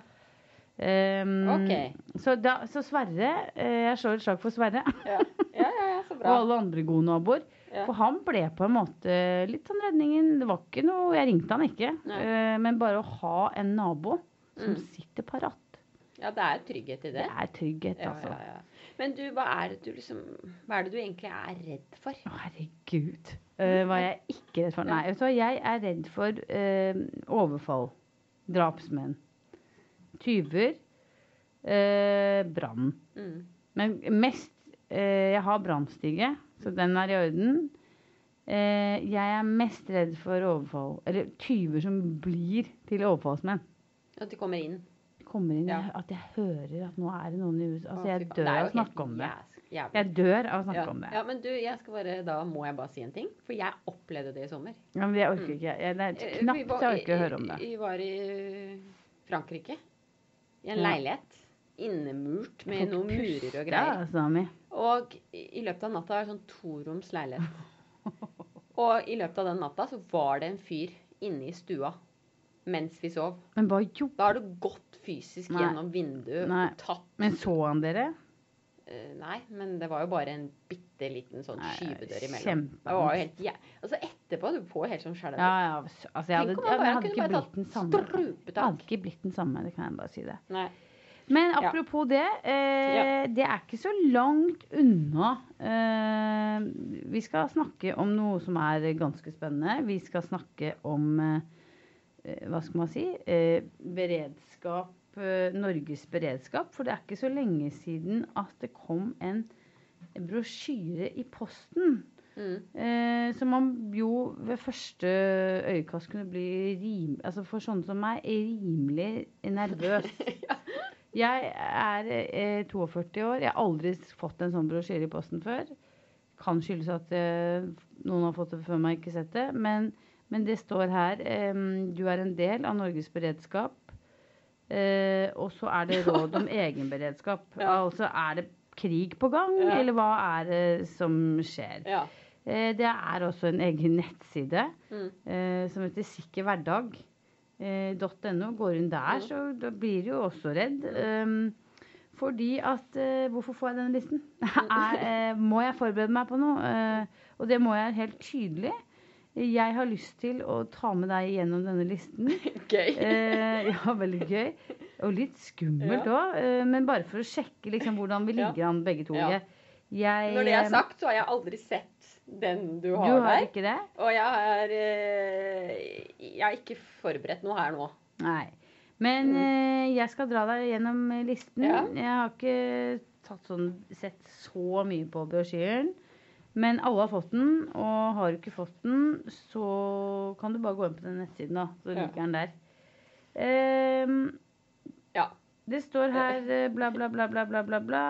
[SPEAKER 1] Ehm,
[SPEAKER 2] OK.
[SPEAKER 1] så, da, så Sverre eh, Jeg slår et slag for Sverre
[SPEAKER 2] Ja, ja, ja, ja så
[SPEAKER 1] og
[SPEAKER 2] bra.
[SPEAKER 1] alle andre gode naboer.
[SPEAKER 2] Ja.
[SPEAKER 1] For han ble på en måte litt sånn redningen. Det var ikke noe Jeg ringte han ikke.
[SPEAKER 2] Nei.
[SPEAKER 1] eh, men bare å ha en nabo som
[SPEAKER 2] Mm.
[SPEAKER 1] sitter parat,
[SPEAKER 2] Ja, det er trygghet i
[SPEAKER 1] det
[SPEAKER 2] det.
[SPEAKER 1] er trygghet,
[SPEAKER 2] Ja,
[SPEAKER 1] altså.
[SPEAKER 2] ja, ja. Men du, hva er det du liksom Hva er det du egentlig er redd for?
[SPEAKER 1] Å, herregud. Uh, var jeg ikke redd for Nei, vet du hva, jeg er redd for eh, overfall. Drapsmenn. Tyver. eh, brann.
[SPEAKER 2] Mm.
[SPEAKER 1] Men mest eh, Jeg har brannstige, så den er i orden. Eh, jeg er mest redd for overfall Eller tyver som blir til overfallsmenn.
[SPEAKER 2] At de kommer inn.
[SPEAKER 1] Kommer inn
[SPEAKER 2] Ja.
[SPEAKER 1] At jeg hører at nå er det noen i huset. Altså,
[SPEAKER 2] Å, fy
[SPEAKER 1] jeg
[SPEAKER 2] faen.
[SPEAKER 1] dør
[SPEAKER 2] er
[SPEAKER 1] av
[SPEAKER 2] jo
[SPEAKER 1] å snakke
[SPEAKER 2] helt
[SPEAKER 1] om det.
[SPEAKER 2] jæs- jævlig.
[SPEAKER 1] Jeg dør av å snakke
[SPEAKER 2] Ja.
[SPEAKER 1] om det.
[SPEAKER 2] ja, men du, jeg skal bare, da må jeg bare si en ting. For jeg opplevde det i sommer.
[SPEAKER 1] Ja, men jeg orker
[SPEAKER 2] Mm.
[SPEAKER 1] ikke. Jeg, det er
[SPEAKER 2] Eh, vi
[SPEAKER 1] knapt
[SPEAKER 2] var-
[SPEAKER 1] jeg orker å høre om det.
[SPEAKER 2] Vi var i Frankrike. I en
[SPEAKER 1] Ja.
[SPEAKER 2] leilighet. innemurt med
[SPEAKER 1] Tok
[SPEAKER 2] noen
[SPEAKER 1] puste,
[SPEAKER 2] murer og greier.
[SPEAKER 1] altså, mi.
[SPEAKER 2] Og i i løpet av natta er det sånn toroms leilighet. Og i løpet av den natta så var det en fyr inne i stua mens vi sov.
[SPEAKER 1] Men hva gjorde
[SPEAKER 2] Da har du gått fysisk
[SPEAKER 1] Nei.
[SPEAKER 2] gjennom vinduet
[SPEAKER 1] Nei.
[SPEAKER 2] og tatt
[SPEAKER 1] Men så han dere?
[SPEAKER 2] eh, Nei, men det var jo bare en bitte liten sånn
[SPEAKER 1] Nei,
[SPEAKER 2] skyvedør imellom.
[SPEAKER 1] Kjempe.
[SPEAKER 2] Det var jo helt jæ... Altså etterpå du får helt sånn skjelv.
[SPEAKER 1] Ja, ja. Altså, jeg hadde,
[SPEAKER 2] Tenk om
[SPEAKER 1] jeg
[SPEAKER 2] han bare
[SPEAKER 1] hadde
[SPEAKER 2] kunne
[SPEAKER 1] ikke
[SPEAKER 2] bare
[SPEAKER 1] blitt den
[SPEAKER 2] tatt
[SPEAKER 1] samme. Jeg
[SPEAKER 2] strupetak.
[SPEAKER 1] hadde ikke blitt den samme, det kan jeg bare si det.
[SPEAKER 2] Nei.
[SPEAKER 1] Men
[SPEAKER 2] Ja.
[SPEAKER 1] apropos det, eh, det er ikke så langt unna. Eh, vi skal snakke om noe som er ganske spennende. Vi skal snakke om eh, eh, Hva skal man si? Eh, beredskap. eh, Norges beredskap. For det er ikke så lenge siden at det kom en brosjyre i posten.
[SPEAKER 2] Mm.
[SPEAKER 1] Eh, som man jo ved første øyekast kunne bli rim, altså For sånne som meg rimelig nervøs. Jeg er eh, 42 år. Jeg har aldri fått en sånn brosjyre i posten før. Kan skyldes at eh, noen har fått det før meg, ikke sett det. Men, men det står her eh, Du er en del av Norges beredskap. Eh, og så er det råd om egenberedskap.
[SPEAKER 2] Ja.
[SPEAKER 1] Altså er det krig på gang,
[SPEAKER 2] Ja.
[SPEAKER 1] eller hva er det som skjer?
[SPEAKER 2] Ja.
[SPEAKER 1] Eh, Det er også en egen nettside
[SPEAKER 2] Mm.
[SPEAKER 1] eh, som heter sikkerhverdag.no. Går hun der,
[SPEAKER 2] Mm.
[SPEAKER 1] så da blir du jo også redd. Ehm, fordi at eh, Hvorfor får jeg denne listen? er, eh, må jeg forberede meg på noe? Eh, og det må jeg helt tydelig. Jeg har lyst til å ta med deg gjennom denne listen.
[SPEAKER 2] Gøy.
[SPEAKER 1] Eh, ja, veldig gøy. Og litt skummelt òg. Eh, men bare for å sjekke liksom, hvordan vi
[SPEAKER 2] Ja.
[SPEAKER 1] ligger an begge to.
[SPEAKER 2] Ja.
[SPEAKER 1] Jeg, jeg,
[SPEAKER 2] Når det er
[SPEAKER 1] eh,
[SPEAKER 2] sagt, så har jeg aldri sett den du
[SPEAKER 1] Du
[SPEAKER 2] har,
[SPEAKER 1] har
[SPEAKER 2] der.
[SPEAKER 1] ikke det?
[SPEAKER 2] Og jeg har eh, Jeg har ikke forberedt noe her nå.
[SPEAKER 1] Nei. Men
[SPEAKER 2] Mm.
[SPEAKER 1] eh, jeg skal dra deg gjennom eh, listen.
[SPEAKER 2] Ja.
[SPEAKER 1] Jeg har ikke tatt sånn, sett så mye på brosjyren. Men alle har fått den, og har du ikke fått den, så kan du bare gå inn på den nettsiden, da. Så
[SPEAKER 2] Ja.
[SPEAKER 1] ligger den der. Ehm,
[SPEAKER 2] Ja.
[SPEAKER 1] Det står her eh, bla, bla, bla, bla, bla, bla, bla.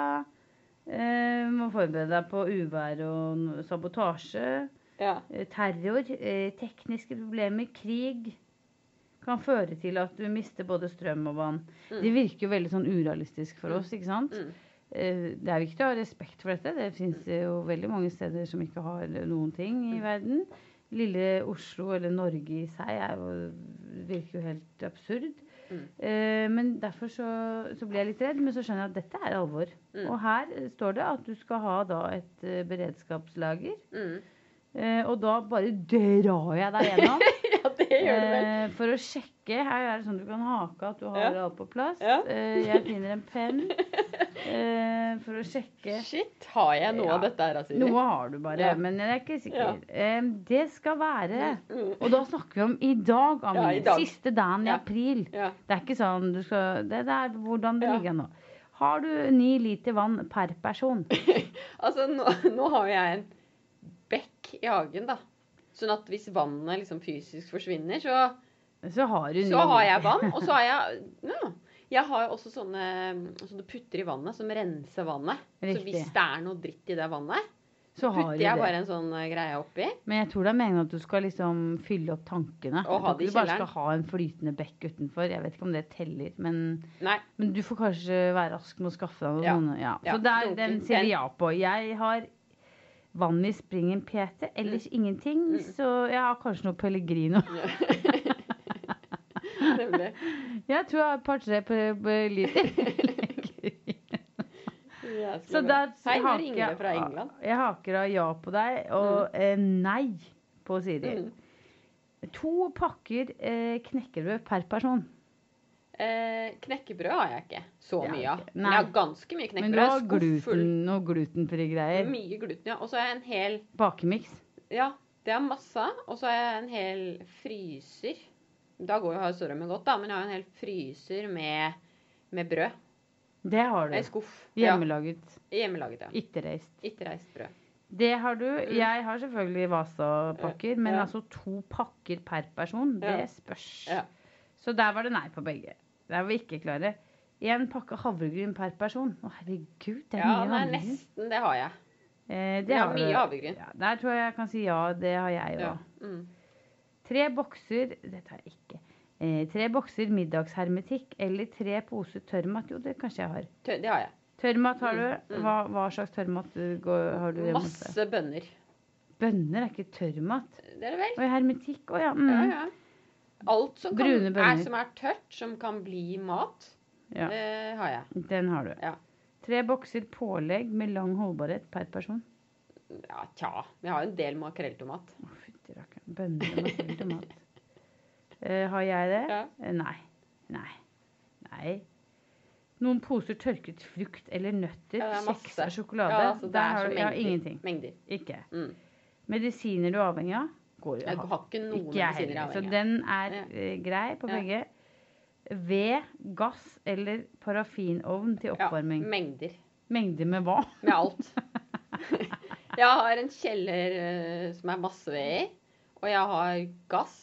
[SPEAKER 1] Eh, må forberede deg på uvær og no- sabotasje.
[SPEAKER 2] Ja.
[SPEAKER 1] Eh, Terror, eh, tekniske problemer, krig kan føre til at du mister både strøm og vann.
[SPEAKER 2] Mm.
[SPEAKER 1] Det virker jo veldig sånn urealistisk for
[SPEAKER 2] Mm.
[SPEAKER 1] oss, ikke sant?
[SPEAKER 2] Mm.
[SPEAKER 1] Eh, Det er viktig å ha respekt for dette. Det fins jo veldig mange steder som ikke har noen ting i
[SPEAKER 2] Mm.
[SPEAKER 1] verden. Lille Oslo, eller Norge i seg, er jo, virker jo helt absurd.
[SPEAKER 2] Mm.
[SPEAKER 1] Eh, Men derfor så, så blir jeg litt redd, men så skjønner jeg at dette er alvor.
[SPEAKER 2] Mm.
[SPEAKER 1] Og her eh, står det at du skal ha da et eh, beredskapslager.
[SPEAKER 2] Mm.
[SPEAKER 1] Eh, og da bare drar jeg deg gjennom
[SPEAKER 2] Ja, det gjør du vel.
[SPEAKER 1] eh, for å sjekke. Her er det sånn du kan hake at du har alt på plass.
[SPEAKER 2] Ja.
[SPEAKER 1] Eh, jeg finner en penn eh, for å sjekke.
[SPEAKER 2] Shit, har jeg noe
[SPEAKER 1] Ja.
[SPEAKER 2] av dette her, Asiri?
[SPEAKER 1] Noe har du bare,
[SPEAKER 2] Ja.
[SPEAKER 1] men jeg er ikke sikker.
[SPEAKER 2] Ja.
[SPEAKER 1] Eh, det skal være
[SPEAKER 2] Mm.
[SPEAKER 1] Og da snakker vi om i dag, Amin.
[SPEAKER 2] Ja, i dag.
[SPEAKER 1] Siste dagen i
[SPEAKER 2] Ja.
[SPEAKER 1] april.
[SPEAKER 2] Ja.
[SPEAKER 1] Det er ikke sånn du skal Det, det er hvordan det
[SPEAKER 2] Ja.
[SPEAKER 1] ligger an nå. Har du ni liter vann per person?
[SPEAKER 2] Altså, nå, nå har jo jeg en bekk i hagen, da. Sånn at hvis vannet liksom fysisk forsvinner, så
[SPEAKER 1] Så har du ni
[SPEAKER 2] Så har
[SPEAKER 1] liter.
[SPEAKER 2] jeg vann, og så har jeg ja. Jeg har jo også sånne, sånne putter i vannet som renser vannet. Så
[SPEAKER 1] Riktig.
[SPEAKER 2] hvis det er noe dritt i det vannet,
[SPEAKER 1] Så har
[SPEAKER 2] putter
[SPEAKER 1] du
[SPEAKER 2] jeg
[SPEAKER 1] det.
[SPEAKER 2] bare en sånn eh, greie oppi.
[SPEAKER 1] Men jeg tror det er meningen at du skal liksom fylle opp tankene.
[SPEAKER 2] Og ha
[SPEAKER 1] jeg tror
[SPEAKER 2] det i
[SPEAKER 1] ikke du bare
[SPEAKER 2] kjelleren.
[SPEAKER 1] skal ha en flytende bekk utenfor. Jeg vet ikke om det teller, men,
[SPEAKER 2] Nei.
[SPEAKER 1] men du får kanskje være rask med å skaffe deg noe.
[SPEAKER 2] Ja.
[SPEAKER 1] sånne- Ja.
[SPEAKER 2] Ja,
[SPEAKER 1] Så der,
[SPEAKER 2] dunken.
[SPEAKER 1] den sier
[SPEAKER 2] Den-
[SPEAKER 1] vi ja på. Jeg har vann i springen PT, ellers ingenting.
[SPEAKER 2] Mm.
[SPEAKER 1] Så jeg har kanskje noe Pellegrino.
[SPEAKER 2] Nemlig.
[SPEAKER 1] Jeg tror jeg har et par-tre pe- pe- liter. Pellegrino.
[SPEAKER 2] Ja,
[SPEAKER 1] så
[SPEAKER 2] skal vi-
[SPEAKER 1] der
[SPEAKER 2] Hei, nå
[SPEAKER 1] haker
[SPEAKER 2] ringer
[SPEAKER 1] jeg-
[SPEAKER 2] det fra England.
[SPEAKER 1] Jeg haker av ja på deg og eh, nei på Siri.
[SPEAKER 2] Mm.
[SPEAKER 1] To pakker eh, knekkebrød per person.
[SPEAKER 2] Eh, knekkebrød har jeg ikke så
[SPEAKER 1] Det har
[SPEAKER 2] mye
[SPEAKER 1] jeg
[SPEAKER 2] av.
[SPEAKER 1] ikke.
[SPEAKER 2] Men
[SPEAKER 1] Nei.
[SPEAKER 2] jeg har ganske mye
[SPEAKER 1] Men du har
[SPEAKER 2] knekkebrød. Jeg er
[SPEAKER 1] gluten,
[SPEAKER 2] skufffull.
[SPEAKER 1] noe glutenfrie greier.
[SPEAKER 2] Mye gluten, ja. Og så har jeg en hel
[SPEAKER 1] Bakemiks.
[SPEAKER 2] Ja, det er masse. Og så har jeg en hel fryser. Da går jo har storrømmen godt, da, men jeg har en hel fryser med, med brød.
[SPEAKER 1] Det har du.
[SPEAKER 2] En skuff.
[SPEAKER 1] Hjemmelaget.
[SPEAKER 2] Ja, hjemmelaget, ja.
[SPEAKER 1] Ikke reist.
[SPEAKER 2] Ikke reist brød.
[SPEAKER 1] Det har du. Jeg har selvfølgelig Vasa-pakker, men
[SPEAKER 2] Mm. Ja.
[SPEAKER 1] altså to pakker per person,
[SPEAKER 2] Ja.
[SPEAKER 1] det spørs.
[SPEAKER 2] Ja.
[SPEAKER 1] Så der var det nei på begge. Der var vi ikke klare. Én pakke havregryn per person. Å, herregud, det er
[SPEAKER 2] Ja,
[SPEAKER 1] mye
[SPEAKER 2] nei,
[SPEAKER 1] havregryn.
[SPEAKER 2] nesten. Det har jeg.
[SPEAKER 1] Eh,
[SPEAKER 2] Jeg har
[SPEAKER 1] du.
[SPEAKER 2] mye havregryn.
[SPEAKER 1] Ja, der tror jeg jeg kan si ja, det har jeg òg.
[SPEAKER 2] Ja. Mm.
[SPEAKER 1] Tre bokser Dette har jeg ikke. eh, tre bokser middagshermetikk eller tre poser tørrmat. Jo, det kanskje jeg har.
[SPEAKER 2] Tø- Det har jeg.
[SPEAKER 1] Tørrmat har
[SPEAKER 2] Mm,
[SPEAKER 1] du.
[SPEAKER 2] mm.
[SPEAKER 1] Hva, hva slags tørrmat du går, har du? hjemme hos deg?
[SPEAKER 2] Masse bønner.
[SPEAKER 1] Bønner er ikke tørrmat.
[SPEAKER 2] Det er det vel?
[SPEAKER 1] Og hermetikk, å ja.
[SPEAKER 2] Ja,
[SPEAKER 1] Mm.
[SPEAKER 2] ja. Alt som, kan,
[SPEAKER 1] Brune bønner.
[SPEAKER 2] er, som er tørt, som kan bli mat,
[SPEAKER 1] ja.
[SPEAKER 2] det har jeg.
[SPEAKER 1] Den har du.
[SPEAKER 2] Ja.
[SPEAKER 1] Tre bokser pålegg med lang holdbarhet per person.
[SPEAKER 2] Ja, tja. Jeg har en del makrelltomat.
[SPEAKER 1] Å, fytti rakkeren. Bønner med full tomat. Eh, har jeg det?
[SPEAKER 2] Ja.
[SPEAKER 1] Eh, nei. Nei. Nei. Noen poser tørket frukt eller nøtter,
[SPEAKER 2] Ja, det er
[SPEAKER 1] kjeks
[SPEAKER 2] masse.
[SPEAKER 1] og sjokolade.
[SPEAKER 2] Ja, altså, det
[SPEAKER 1] Der
[SPEAKER 2] er
[SPEAKER 1] har
[SPEAKER 2] så
[SPEAKER 1] du ja,
[SPEAKER 2] mengder.
[SPEAKER 1] ingenting.
[SPEAKER 2] Mengder.
[SPEAKER 1] Ikke.
[SPEAKER 2] Mm.
[SPEAKER 1] Medisiner du er avhengig av? Går jo
[SPEAKER 2] Jeg har ikke noen
[SPEAKER 1] Ikke jeg
[SPEAKER 2] medisiner
[SPEAKER 1] heller. Så
[SPEAKER 2] avhengig. av.
[SPEAKER 1] den er
[SPEAKER 2] Ja.
[SPEAKER 1] eh, grei på
[SPEAKER 2] Ja.
[SPEAKER 1] begge. Ved, gass eller parafinovn til
[SPEAKER 2] Ja,
[SPEAKER 1] oppvarming.
[SPEAKER 2] mengder.
[SPEAKER 1] Mengde med hva?
[SPEAKER 2] Med alt. jeg har en kjeller eh, som er masse ved i, og jeg har gass.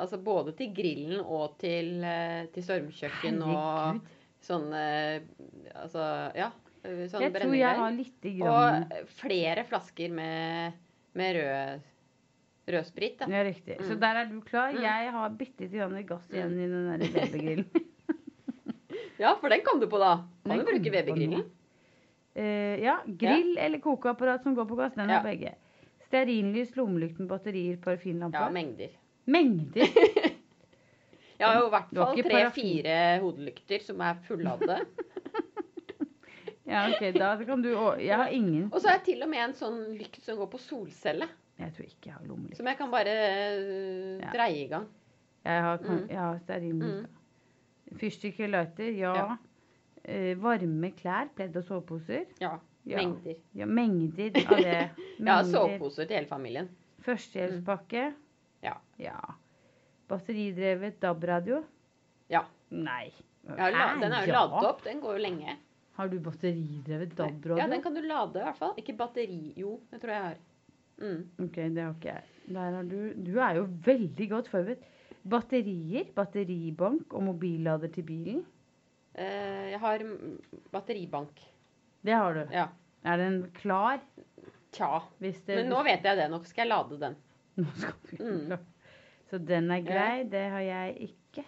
[SPEAKER 2] Altså både til grillen og til, eh, til stormkjøkken og
[SPEAKER 1] Herregud.
[SPEAKER 2] sånn eh, Altså, ja. eh, Sånn
[SPEAKER 1] Jeg tror jeg har
[SPEAKER 2] brennevin.
[SPEAKER 1] lite grann
[SPEAKER 2] Og eh, flere flasker med, med rød, rød sprit. Da.
[SPEAKER 1] Ja, riktig. Så
[SPEAKER 2] Mm.
[SPEAKER 1] der er du klar.
[SPEAKER 2] Mm.
[SPEAKER 1] Jeg har bitte lite grann gass igjen i den der babygrillen.
[SPEAKER 2] Ja, for den kom du på, da.
[SPEAKER 1] Den
[SPEAKER 2] Kan du
[SPEAKER 1] kom
[SPEAKER 2] bruke
[SPEAKER 1] du på nå.
[SPEAKER 2] VB-grillen?
[SPEAKER 1] Eh, ja, grill eller kokeapparat som går på gass. Den
[SPEAKER 2] Ja.
[SPEAKER 1] har begge. Stearinlys, lommelykt med batterier, parafinlampe.
[SPEAKER 2] Ja, mengder.
[SPEAKER 1] Mengder!
[SPEAKER 2] Jeg har jo i hvert
[SPEAKER 1] Du har
[SPEAKER 2] fall
[SPEAKER 1] ikke
[SPEAKER 2] tre-fire hodelykter som er fullade.
[SPEAKER 1] Ja, ok, da kan du å- Jeg har ingen.
[SPEAKER 2] Og så har jeg til og med en sånn lykt som går på solcelle.
[SPEAKER 1] Jeg tror ikke jeg har lommelykt.
[SPEAKER 2] Som jeg kan bare øh,
[SPEAKER 1] Ja.
[SPEAKER 2] dreie i gang.
[SPEAKER 1] Jeg har, kan,
[SPEAKER 2] Mm.
[SPEAKER 1] jeg har stearinlys.
[SPEAKER 2] Mm.
[SPEAKER 1] da. Fyrstikker, lighter, ja.
[SPEAKER 2] Ja.
[SPEAKER 1] Eh, varme klær, pledd og soveposer.
[SPEAKER 2] Ja,
[SPEAKER 1] Ja.
[SPEAKER 2] Mengder.
[SPEAKER 1] Ja, mengder av det.
[SPEAKER 2] Jeg har
[SPEAKER 1] Mengder.
[SPEAKER 2] soveposer til hele familien.
[SPEAKER 1] Førstehjelpspakke.
[SPEAKER 2] Ja.
[SPEAKER 1] ja. Batteridrevet DAB-radio.
[SPEAKER 2] Ja.
[SPEAKER 1] Nei.
[SPEAKER 2] Jeg har la,
[SPEAKER 1] Hæ?
[SPEAKER 2] den er jo
[SPEAKER 1] Ja.
[SPEAKER 2] ladet opp. Den går jo lenge.
[SPEAKER 1] Har du batteridrevet DAB-radio?
[SPEAKER 2] Ja, den kan du lade i hvert fall. Ikke batteri. Jo, det tror jeg jeg har. Mm.
[SPEAKER 1] Ok, det har ikke jeg. Der har du Du er jo veldig godt forberedt. Batterier, batteribank og mobillader til bilen.
[SPEAKER 2] Eh, jeg har mm, batteribank.
[SPEAKER 1] Det har du.
[SPEAKER 2] Ja.
[SPEAKER 1] Er den klar?
[SPEAKER 2] Tja.
[SPEAKER 1] Hvis det
[SPEAKER 2] Men nå vet jeg det. Nå skal jeg lade den.
[SPEAKER 1] Nå skal vi
[SPEAKER 2] Mm.
[SPEAKER 1] Så den er
[SPEAKER 2] Ja.
[SPEAKER 1] grei. Det har jeg ikke.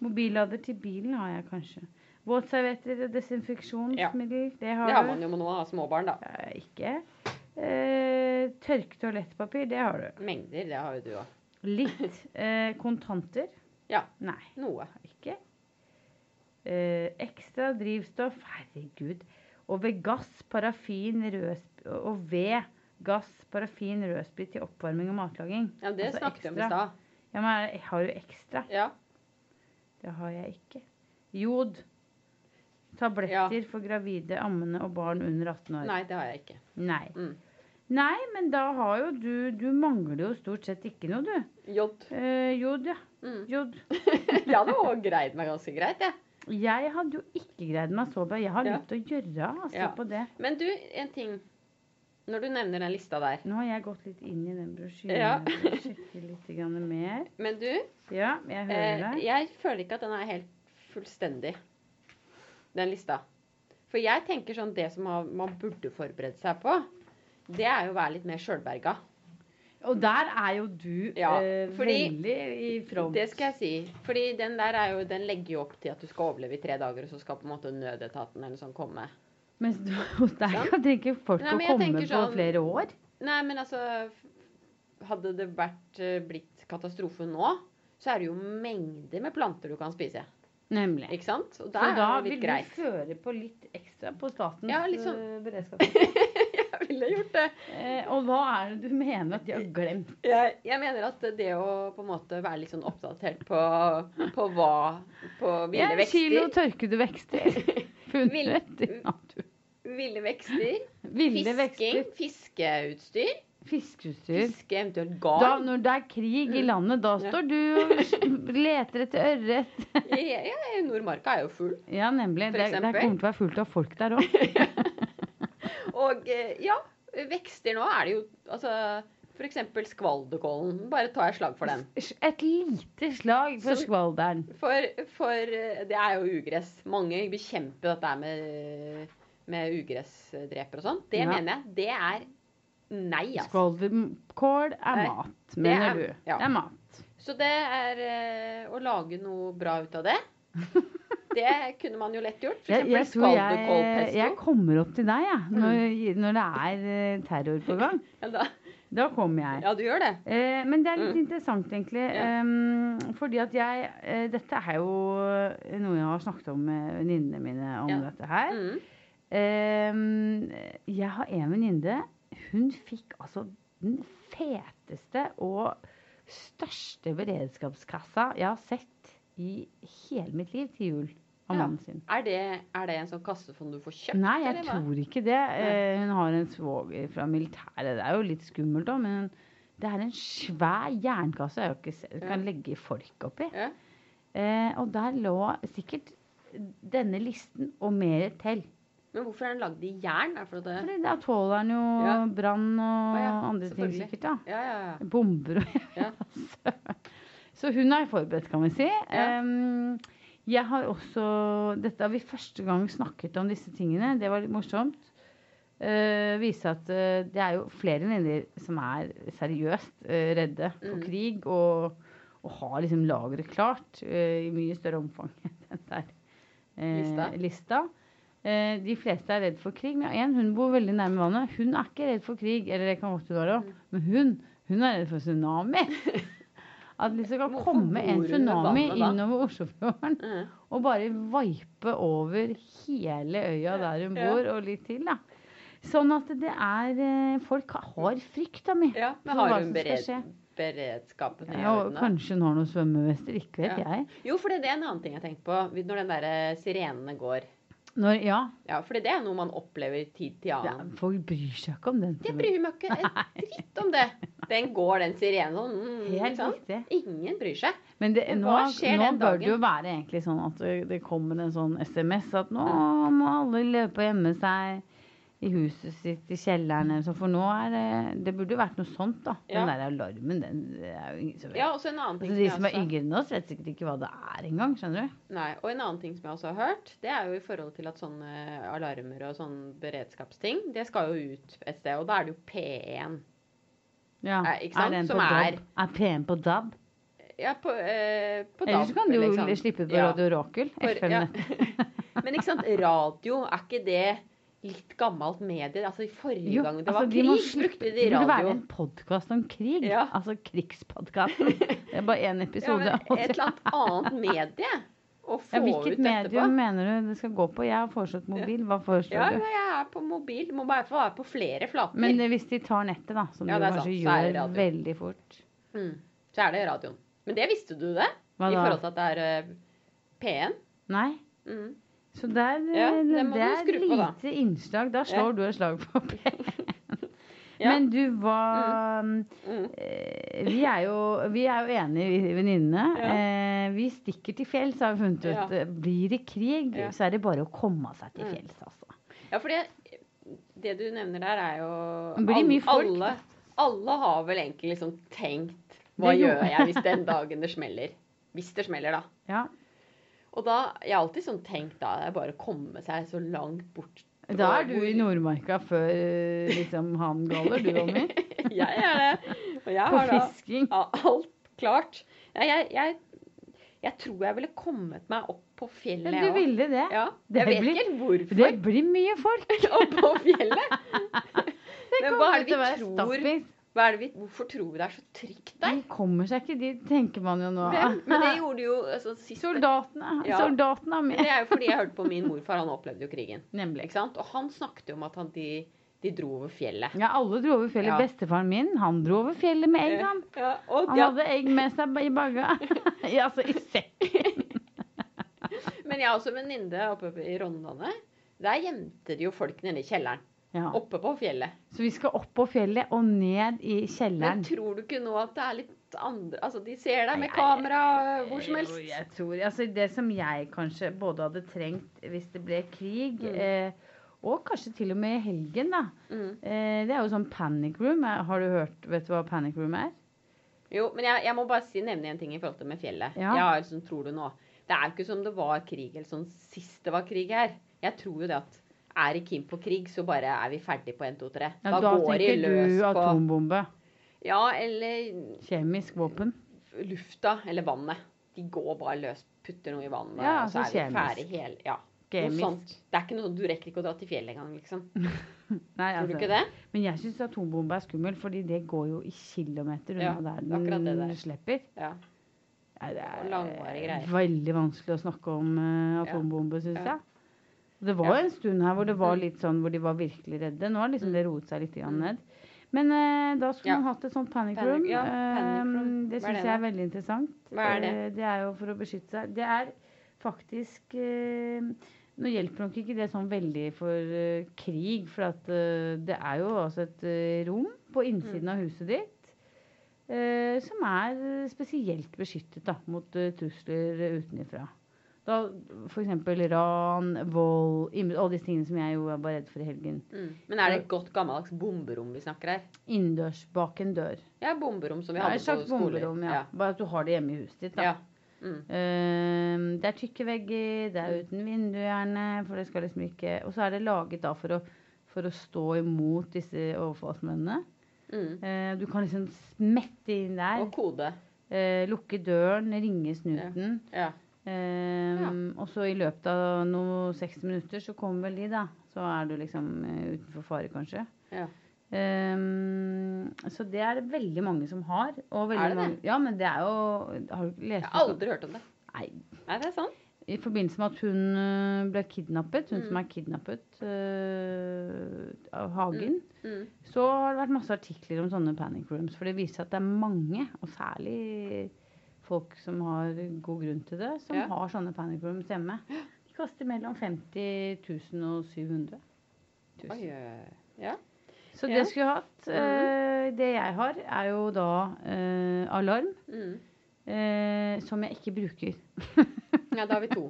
[SPEAKER 1] Mobillader til bilen har jeg kanskje. Våtservietter og desinfeksjonsmiddel, det har
[SPEAKER 2] Det
[SPEAKER 1] du.
[SPEAKER 2] har man jo når man har småbarn, da.
[SPEAKER 1] Det har jeg ikke. Eh, tørk toalettpapir, det har du.
[SPEAKER 2] Mengder, det har jo du òg.
[SPEAKER 1] Litt. Eh, kontanter?
[SPEAKER 2] Ja.
[SPEAKER 1] Nei,
[SPEAKER 2] Noe.
[SPEAKER 1] ikke. Eh, ekstra drivstoff, herregud. Og ved gass, parafin, rødsp... Og ved gass, parafin, rødsprit til oppvarming og matlaging.
[SPEAKER 2] Ja, det
[SPEAKER 1] Altså,
[SPEAKER 2] snakket vi om i
[SPEAKER 1] ekstra.
[SPEAKER 2] stad.
[SPEAKER 1] Ja, men er- har du ekstra?
[SPEAKER 2] Ja.
[SPEAKER 1] Det har jeg ikke. Jod. Tabletter for gravide, ammende og barn under 18 år.
[SPEAKER 2] Nei, det har jeg ikke.
[SPEAKER 1] Nei.
[SPEAKER 2] Mm.
[SPEAKER 1] Nei, men da har jo du Du mangler jo stort sett ikke noe, du.
[SPEAKER 2] Jod.
[SPEAKER 1] Eh, jod, ja.
[SPEAKER 2] Mm.
[SPEAKER 1] Jod.
[SPEAKER 2] Jeg hadde òg greid meg ganske greit, jeg.
[SPEAKER 1] Jeg hadde jo ikke greid meg så bra. Jeg har
[SPEAKER 2] Ja.
[SPEAKER 1] litt å gjøre altså,
[SPEAKER 2] Ja.
[SPEAKER 1] på det.
[SPEAKER 2] Men du, en ting. Når du nevner den lista der.
[SPEAKER 1] Nå har jeg gått litt inn i den brosjyren.
[SPEAKER 2] Ja.
[SPEAKER 1] og sjekker litt grann mer.
[SPEAKER 2] Men du,
[SPEAKER 1] Ja, jeg hører
[SPEAKER 2] eh,
[SPEAKER 1] deg.
[SPEAKER 2] jeg føler ikke at den er helt fullstendig, den lista. For jeg tenker sånn det som har- man burde forberede seg på, det er jo å være litt mer sjølberga.
[SPEAKER 1] Og der er jo du
[SPEAKER 2] Ja,
[SPEAKER 1] eh,
[SPEAKER 2] fordi-
[SPEAKER 1] veldig i front.
[SPEAKER 2] Det skal jeg si. Fordi den der er jo, den legger jo opp til at du skal overleve i tre dager, og så skal på en måte nødetaten eller noe sånt komme.
[SPEAKER 1] Mens du, hos deg
[SPEAKER 2] Sant?
[SPEAKER 1] kan tenke folk
[SPEAKER 2] Nei,
[SPEAKER 1] å
[SPEAKER 2] men jeg
[SPEAKER 1] komme
[SPEAKER 2] tenker
[SPEAKER 1] på
[SPEAKER 2] sånn-
[SPEAKER 1] flere år.
[SPEAKER 2] Nei, men altså Hadde det vært, eh, blitt katastrofe nå, så er det jo mengder med planter du kan spise.
[SPEAKER 1] Nemlig.
[SPEAKER 2] Ikke sant?
[SPEAKER 1] Så
[SPEAKER 2] Og
[SPEAKER 1] da
[SPEAKER 2] da er det jo
[SPEAKER 1] vil
[SPEAKER 2] litt
[SPEAKER 1] du
[SPEAKER 2] greit.
[SPEAKER 1] føre på litt ekstra på statens
[SPEAKER 2] Ja, litt sånn.
[SPEAKER 1] eh, beredskap.
[SPEAKER 2] Jeg ville gjort det.
[SPEAKER 1] Eh, og hva er det du mener at de har glemt?
[SPEAKER 2] Jeg, jeg mener at det å på en måte være litt sånn oppdatert på, på hva På ville
[SPEAKER 1] Ja, kilo
[SPEAKER 2] vekster.
[SPEAKER 1] tørkede vekster. Funnet i natur.
[SPEAKER 2] Ville vekster.
[SPEAKER 1] Ville
[SPEAKER 2] Fisking.
[SPEAKER 1] vekster.
[SPEAKER 2] Fiskeutstyr.
[SPEAKER 1] Fiskeutstyr.
[SPEAKER 2] Fiske, eventuelt
[SPEAKER 1] Da,
[SPEAKER 2] garn.
[SPEAKER 1] når det er krig i
[SPEAKER 2] Mm.
[SPEAKER 1] landet, da
[SPEAKER 2] Ja.
[SPEAKER 1] står du og leter etter ørret.
[SPEAKER 2] Ja, ja, Nordmarka er jo full.
[SPEAKER 1] Ja, nemlig.
[SPEAKER 2] For
[SPEAKER 1] Det, det
[SPEAKER 2] eksempel.
[SPEAKER 1] kommer til å være fullt av folk der òg.
[SPEAKER 2] Og eh, ja, vekster nå er det jo Altså f.eks. skvalderkålen. Bare tar jeg slag for den.
[SPEAKER 1] Et lite slag for
[SPEAKER 2] Som-
[SPEAKER 1] skvalderen.
[SPEAKER 2] For, for eh, det er jo ugress. Mange bekjemper dette her med, med ugressdreper og sånn. Det
[SPEAKER 1] Ja.
[SPEAKER 2] mener jeg. Det er nei, altså.
[SPEAKER 1] Skvalderkål er
[SPEAKER 2] Nei,
[SPEAKER 1] mat,
[SPEAKER 2] er-
[SPEAKER 1] mener du.
[SPEAKER 2] ja.
[SPEAKER 1] Det er mat.
[SPEAKER 2] Så det er eh, å lage noe bra ut av det. Det kunne man jo lett gjort. For
[SPEAKER 1] Jeg, jeg
[SPEAKER 2] eksempel
[SPEAKER 1] tror
[SPEAKER 2] Mm.
[SPEAKER 1] jeg, jeg
[SPEAKER 2] skaldekålpesto.
[SPEAKER 1] kommer opp til deg jeg, når, når det er eh, terror på gang.
[SPEAKER 2] Ja, da-
[SPEAKER 1] Da kommer jeg.
[SPEAKER 2] Ja, du gjør det.
[SPEAKER 1] Eh, men det er litt
[SPEAKER 2] Mm.
[SPEAKER 1] interessant, egentlig.
[SPEAKER 2] Ja.
[SPEAKER 1] em, fordi at jeg eh, Dette er jo noe jeg har snakket om med venninnene mine om
[SPEAKER 2] Ja.
[SPEAKER 1] dette her.
[SPEAKER 2] Mm.
[SPEAKER 1] Em, Ehm, jeg har en venninne. Hun fikk altså den feteste og største beredskapskassa jeg har sett i hele mitt liv til jul av
[SPEAKER 2] Ja.
[SPEAKER 1] mannen sin.
[SPEAKER 2] Er, det, er det en sånn kasse som du får kjøpt?
[SPEAKER 1] Nei, jeg
[SPEAKER 2] eller hva?
[SPEAKER 1] tror ikke det. Eh, hun har en svoger fra militæret. Det er jo litt skummelt òg, men det er en svær jernkasse. Jeg har ikke sett. Du kan legge folk oppi.
[SPEAKER 2] Ja.
[SPEAKER 1] Eh, og der lå sikkert denne listen og mer til.
[SPEAKER 2] Men hvorfor er den lagd i jern? Er det fordi det
[SPEAKER 1] Fordi da tåler den jo
[SPEAKER 2] Ja.
[SPEAKER 1] brann og
[SPEAKER 2] Å ja,
[SPEAKER 1] andre ting
[SPEAKER 2] selvfølgelig.
[SPEAKER 1] sikkert, da.
[SPEAKER 2] Ja, ja, ja.
[SPEAKER 1] Bomber og
[SPEAKER 2] Ja.
[SPEAKER 1] Så hun er forberedt, kan vi si. Em, jeg har også Dette har vi første gang snakket om disse tingene. Det var litt morsomt. Uh, vise at eh, det er jo flere venninner som er seriøst eh, redde for
[SPEAKER 2] Mm.
[SPEAKER 1] krig og, og har liksom lageret klart eh, i mye større omfang enn den der eh,
[SPEAKER 2] Lista.
[SPEAKER 1] lista. Eh, de fleste er redd for krig, men én hun bor veldig nærme vannet. Hun er ikke redd for krig, eller det kan godt være òg, men hun, hun er redd for tsunami. At liksom kan
[SPEAKER 2] Hvorfor
[SPEAKER 1] komme en
[SPEAKER 2] bor hun ved
[SPEAKER 1] tsunami
[SPEAKER 2] vannet da?
[SPEAKER 1] innover Oslofjorden
[SPEAKER 2] Mm.
[SPEAKER 1] og bare vipe over hele øya der hun
[SPEAKER 2] Ja.
[SPEAKER 1] bor, og litt til, da. Sånn at det er eh, Folk har frykt, da, mi.
[SPEAKER 2] ja. Men
[SPEAKER 1] for hva
[SPEAKER 2] har hun
[SPEAKER 1] som skal
[SPEAKER 2] bered,
[SPEAKER 1] skje.
[SPEAKER 2] beredskapen i
[SPEAKER 1] Ja, og
[SPEAKER 2] orden? da?
[SPEAKER 1] kanskje hun har noen svømmevester. Ikke vet
[SPEAKER 2] Ja.
[SPEAKER 1] jeg.
[SPEAKER 2] Jo, for det er en annen ting jeg tenkte på. Når den derre sirenene går.
[SPEAKER 1] Når, ja,
[SPEAKER 2] Ja, for det er noe man opplever tid til
[SPEAKER 1] ja,
[SPEAKER 2] annen.
[SPEAKER 1] folk bryr seg ikke om den.
[SPEAKER 2] Jeg bryr meg ikke en dritt om det. Den går, den sirenen sånn. Mm, ikke
[SPEAKER 1] Helt
[SPEAKER 2] sant?
[SPEAKER 1] riktig.
[SPEAKER 2] Ingen bryr seg.
[SPEAKER 1] Men det,
[SPEAKER 2] Men
[SPEAKER 1] nå,
[SPEAKER 2] hva skjer
[SPEAKER 1] nå
[SPEAKER 2] den
[SPEAKER 1] bør
[SPEAKER 2] dagen?
[SPEAKER 1] det jo være egentlig sånn at det, det kommer en sånn SMS at nå må alle løpe og gjemme seg i huset sitt, i kjelleren eller sånn, for nå er det Det burde jo vært noe sånt, da.
[SPEAKER 2] Ja.
[SPEAKER 1] Den der alarmen, den det er jo ingen som vet.
[SPEAKER 2] Ja, og så en annen ting
[SPEAKER 1] altså, de
[SPEAKER 2] jeg
[SPEAKER 1] som er
[SPEAKER 2] også-
[SPEAKER 1] yngre enn oss, vet sikkert ikke hva det er engang, skjønner du.
[SPEAKER 2] Nei, og en annen ting som jeg også har hørt, det er jo i forhold til at sånne alarmer og sånne beredskapsting, det skal jo ut et sted, og da er det jo P1.
[SPEAKER 1] Ja,
[SPEAKER 2] Eh, ikke sant?
[SPEAKER 1] Er den
[SPEAKER 2] Som
[SPEAKER 1] på
[SPEAKER 2] er-
[SPEAKER 1] DAB? Er P1 på DAB?
[SPEAKER 2] Ja, på, eh, på
[SPEAKER 1] Eller så
[SPEAKER 2] DAB,
[SPEAKER 1] kan du jo
[SPEAKER 2] liksom.
[SPEAKER 1] slippe på
[SPEAKER 2] Ja.
[SPEAKER 1] Radio Rakel.
[SPEAKER 2] For- ja.
[SPEAKER 1] FM-nett.
[SPEAKER 2] Men ikke sant, radio, er ikke det litt gammelt medie? Altså, i forrige
[SPEAKER 1] Jo,
[SPEAKER 2] gang det
[SPEAKER 1] altså,
[SPEAKER 2] var
[SPEAKER 1] de må
[SPEAKER 2] krig,
[SPEAKER 1] slutte-
[SPEAKER 2] brukte
[SPEAKER 1] Det
[SPEAKER 2] de
[SPEAKER 1] burde være
[SPEAKER 2] radio.
[SPEAKER 1] en podkast om krig.
[SPEAKER 2] Ja.
[SPEAKER 1] Altså krigspodkasten. Det er bare én
[SPEAKER 2] Ja,
[SPEAKER 1] episode.
[SPEAKER 2] men
[SPEAKER 1] holdt jeg
[SPEAKER 2] et eller annet annet medie å få
[SPEAKER 1] Ja, hvilket
[SPEAKER 2] ut dette
[SPEAKER 1] medium
[SPEAKER 2] på.
[SPEAKER 1] mener du det skal gå på? Jeg har foreslått mobil. Hva foreslår
[SPEAKER 2] Ja,
[SPEAKER 1] du?
[SPEAKER 2] ja, jeg er på mobil. Må bare få være på flere flater.
[SPEAKER 1] Men hvis de tar nettet, da, som
[SPEAKER 2] Ja,
[SPEAKER 1] de
[SPEAKER 2] det er
[SPEAKER 1] kanskje
[SPEAKER 2] sant. Så er det
[SPEAKER 1] gjør
[SPEAKER 2] radio.
[SPEAKER 1] veldig fort
[SPEAKER 2] Mm, så er det radioen. Men det visste du det?
[SPEAKER 1] Hva
[SPEAKER 2] I
[SPEAKER 1] da?
[SPEAKER 2] forhold til at det er eh, P1.
[SPEAKER 1] Nei?
[SPEAKER 2] Mm.
[SPEAKER 1] Så der, eh,
[SPEAKER 2] Ja, det
[SPEAKER 1] det,
[SPEAKER 2] må du
[SPEAKER 1] er
[SPEAKER 2] skru på, da.
[SPEAKER 1] lite innslag. Da slår du et slag på P1.
[SPEAKER 2] Ja.
[SPEAKER 1] Men du, hva
[SPEAKER 2] Mm.
[SPEAKER 1] eh, Vi er jo, vi er jo enige, vi venninnene.
[SPEAKER 2] Ja.
[SPEAKER 1] Eh, vi stikker til fjells, har vi funnet ut. Blir det krig,
[SPEAKER 2] Ja.
[SPEAKER 1] så er det bare å komme seg til
[SPEAKER 2] Mm.
[SPEAKER 1] fjells, altså.
[SPEAKER 2] Ja, for det, det du nevner der, er jo
[SPEAKER 1] Det blir
[SPEAKER 2] al-
[SPEAKER 1] mye folk,
[SPEAKER 2] alle, alle har vel egentlig liksom tenkt Hva
[SPEAKER 1] Det
[SPEAKER 2] gjør
[SPEAKER 1] gjorde-
[SPEAKER 2] jeg hvis den dagen det smeller? Hvis det smeller, da.
[SPEAKER 1] Ja.
[SPEAKER 2] Og da Jeg har alltid sånn tenkt da det er bare å komme seg så langt bort.
[SPEAKER 1] Da er du
[SPEAKER 2] hvor-
[SPEAKER 1] i Nordmarka før eh, liksom, han galler, du og meg.
[SPEAKER 2] jeg er det. Og jeg
[SPEAKER 1] På
[SPEAKER 2] har da
[SPEAKER 1] fisking.
[SPEAKER 2] Ja, alt klart. Nei, jeg, jeg, jeg tror jeg ville kommet meg opp på fjellet,
[SPEAKER 1] Men du
[SPEAKER 2] jeg òg.
[SPEAKER 1] ville det.
[SPEAKER 2] Ja,
[SPEAKER 1] Det
[SPEAKER 2] jeg vet
[SPEAKER 1] blir-
[SPEAKER 2] ikke helt hvorfor.
[SPEAKER 1] Det blir mye folk.
[SPEAKER 2] opp på fjellet. Men hva er det vi
[SPEAKER 1] stappis.
[SPEAKER 2] tror hva er det vi, Hvorfor tror vi det er så trygt
[SPEAKER 1] De
[SPEAKER 2] der?
[SPEAKER 1] kommer seg ikke dit, tenker man jo nå. Ah,
[SPEAKER 2] Hvem? Men det gjorde jo altså, sist
[SPEAKER 1] Soldatene.
[SPEAKER 2] Ja.
[SPEAKER 1] Soldatene er
[SPEAKER 2] Men Det
[SPEAKER 1] med.
[SPEAKER 2] er jo fordi jeg hørte på min morfar, han opplevde jo krigen.
[SPEAKER 1] Nemlig.
[SPEAKER 2] Ikke sant? Og han snakket jo om at han, de, de dro over fjellet.
[SPEAKER 1] Ja, alle dro over fjellet.
[SPEAKER 2] Ja.
[SPEAKER 1] Bestefaren min, han dro over fjellet med egg, han.
[SPEAKER 2] Eh, Ja, og,
[SPEAKER 1] Han
[SPEAKER 2] ja,
[SPEAKER 1] hadde egg med seg i bagga. ja, altså i sekk.
[SPEAKER 2] men jeg har også en venninne oppe i Rondane. Der gjemte de jo folk nede i kjelleren.
[SPEAKER 1] Ja.
[SPEAKER 2] Oppe på fjellet.
[SPEAKER 1] Så vi skal opp på fjellet og ned i
[SPEAKER 2] Men
[SPEAKER 1] kjelleren.
[SPEAKER 2] tror du ikke nå at det er litt andre Altså, de ser deg
[SPEAKER 1] Nei,
[SPEAKER 2] med
[SPEAKER 1] jeg-
[SPEAKER 2] kamera øh, hvor som helst.
[SPEAKER 1] Jo, Jeg tror, altså Det som jeg kanskje både hadde trengt hvis det ble krig,
[SPEAKER 2] Mm.
[SPEAKER 1] eh, og kanskje til og med i helgen, da.
[SPEAKER 2] Mm.
[SPEAKER 1] Eh, det er jo sånn panic room. Eh, Har du hørt Vet du hva panic room er?
[SPEAKER 2] Jo, men jeg, jeg må bare si, nevne en ting i forhold til med fjellet.
[SPEAKER 1] Ja.
[SPEAKER 2] Jeg har liksom, tror du nå. Det er jo ikke som det var krig, eller sånn sist det var krig her. Jeg tror jo det at er det Kim på krig, så bare er vi ferdig på 1, 2, 3.
[SPEAKER 1] Ja, da
[SPEAKER 2] går de
[SPEAKER 1] tenker
[SPEAKER 2] løs
[SPEAKER 1] du
[SPEAKER 2] på
[SPEAKER 1] atombombe.
[SPEAKER 2] Ja, eller
[SPEAKER 1] Kjemisk våpen.
[SPEAKER 2] lufta, eller vannet, de går bare løs, putter noe i vannet,
[SPEAKER 1] Ja,
[SPEAKER 2] og så
[SPEAKER 1] så
[SPEAKER 2] er vi ferdig
[SPEAKER 1] kjemisk.
[SPEAKER 2] hele Ja. Noe
[SPEAKER 1] Gamisk.
[SPEAKER 2] sånt. Det er ikke noe sånt, Du rekker ikke å dra til fjellet engang, liksom.
[SPEAKER 1] Nei,
[SPEAKER 2] Tror du
[SPEAKER 1] altså.
[SPEAKER 2] ikke det?
[SPEAKER 1] Men jeg syns atombombe er skummel, fordi det går jo i kilometer unna
[SPEAKER 2] Ja,
[SPEAKER 1] der
[SPEAKER 2] det er akkurat det
[SPEAKER 1] den
[SPEAKER 2] der.
[SPEAKER 1] slipper.
[SPEAKER 2] Ja.
[SPEAKER 1] Nei, det
[SPEAKER 2] Og langvarige
[SPEAKER 1] er
[SPEAKER 2] greier.
[SPEAKER 1] veldig vanskelig å snakke om eh, atombombe, syns
[SPEAKER 2] Ja.
[SPEAKER 1] jeg. Det var
[SPEAKER 2] Ja.
[SPEAKER 1] en stund her hvor det var
[SPEAKER 2] Mm.
[SPEAKER 1] litt sånn hvor de var virkelig redde. Nå har liksom
[SPEAKER 2] Mm.
[SPEAKER 1] det roet seg litt grann
[SPEAKER 2] Mm.
[SPEAKER 1] ned. Men eh, da skulle
[SPEAKER 2] Ja.
[SPEAKER 1] man hatt et sånt panic
[SPEAKER 2] Panic-
[SPEAKER 1] room.
[SPEAKER 2] ja, panic room.
[SPEAKER 1] Eh, det
[SPEAKER 2] Hva er
[SPEAKER 1] syns
[SPEAKER 2] det
[SPEAKER 1] jeg er
[SPEAKER 2] da?
[SPEAKER 1] veldig interessant.
[SPEAKER 2] Hva er det?
[SPEAKER 1] Eh, Det er jo for å beskytte seg. Det er faktisk eh, Nå hjelper nok ikke det sånn veldig for eh, krig, for at eh, det er jo altså et eh, rom på innsiden av huset ditt eh, som er eh, spesielt beskyttet da, mot eh, trusler eh, utenifra. Da f.eks. ran, vold, innbrudd, alle disse tingene som jeg jo var redd for i helgen.
[SPEAKER 2] Mm. Men er det et godt gammeldags bomberom vi snakker her?
[SPEAKER 1] Innendørs, bak en dør.
[SPEAKER 2] Ja, bomberom som
[SPEAKER 1] Det
[SPEAKER 2] vi
[SPEAKER 1] er
[SPEAKER 2] hadde
[SPEAKER 1] et slags
[SPEAKER 2] på skoler.
[SPEAKER 1] bomberom, ja. Bare at du har det hjemme i huset ditt. da.
[SPEAKER 2] ja. Mm.
[SPEAKER 1] Ehm, Det er tykke vegger, det er uten vindu gjerne, for det skal liksom ikke Og så er det laget da for å, for å stå imot disse overfallsmennene.
[SPEAKER 2] Mm.
[SPEAKER 1] Eh, Du kan liksom smette inn der,
[SPEAKER 2] Og kode.
[SPEAKER 1] eh, lukke døren, ringe snuten.
[SPEAKER 2] Ja.
[SPEAKER 1] Ehm, Og så i løpet av noe 60 minutter så kommer vel de, da. Så er du liksom eh, utenfor fare, kanskje.
[SPEAKER 2] Ja.
[SPEAKER 1] Ehm, så det er det veldig mange som har. Og veldig
[SPEAKER 2] Er det det?
[SPEAKER 1] mange, ja, men det er jo Har du
[SPEAKER 2] Jeg
[SPEAKER 1] lest
[SPEAKER 2] har aldri hørt om det.
[SPEAKER 1] Nei,
[SPEAKER 2] Nei, det er sant.
[SPEAKER 1] I forbindelse med at hun øh, ble kidnappet, hun
[SPEAKER 2] Mm.
[SPEAKER 1] som er kidnappet øh, av Hagen,
[SPEAKER 2] Mm.
[SPEAKER 1] så har det vært masse artikler om sånne panic rooms. For det viser seg at det er mange, og særlig folk som har god grunn til det, som
[SPEAKER 2] Ja.
[SPEAKER 1] har sånne panic rooms hjemme. De koster mellom 50 000 og 700 000.
[SPEAKER 2] Oi, oi, oi.
[SPEAKER 1] Så
[SPEAKER 2] Ja.
[SPEAKER 1] det skulle jeg hatt.
[SPEAKER 2] Mhm.
[SPEAKER 1] Øh, det jeg har, er jo da øh, alarm,
[SPEAKER 2] Mm.
[SPEAKER 1] øh, som jeg ikke bruker.
[SPEAKER 2] Ja, da er vi to.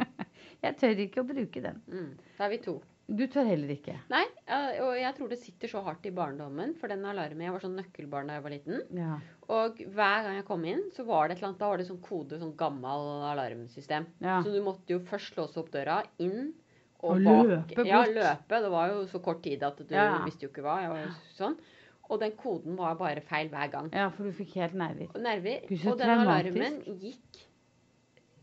[SPEAKER 1] Jeg tør ikke å bruke den.
[SPEAKER 2] Mm. Da er vi to.
[SPEAKER 1] Du tør heller ikke.
[SPEAKER 2] Nei, ja, og jeg tror det sitter så hardt i barndommen, for den alarmen Jeg var sånn nøkkelbarn da jeg var liten.
[SPEAKER 1] Ja.
[SPEAKER 2] Og hver gang jeg kom inn, så var det et eller annet, da var det sånn kode, sånn gammel alarmsystem.
[SPEAKER 1] Ja.
[SPEAKER 2] Så du måtte jo først låse opp døra, inn og,
[SPEAKER 1] Og
[SPEAKER 2] bak.
[SPEAKER 1] løpe
[SPEAKER 2] Ja,
[SPEAKER 1] bort.
[SPEAKER 2] løpe. Det var jo så kort tid at du
[SPEAKER 1] Ja.
[SPEAKER 2] visste jo ikke hva. Jeg var jo sånn. Og den koden var bare feil hver gang.
[SPEAKER 1] Ja, for du fikk helt nerver.
[SPEAKER 2] Og nerver.
[SPEAKER 1] Gud, så
[SPEAKER 2] og den
[SPEAKER 1] traumatisk.
[SPEAKER 2] alarmen gikk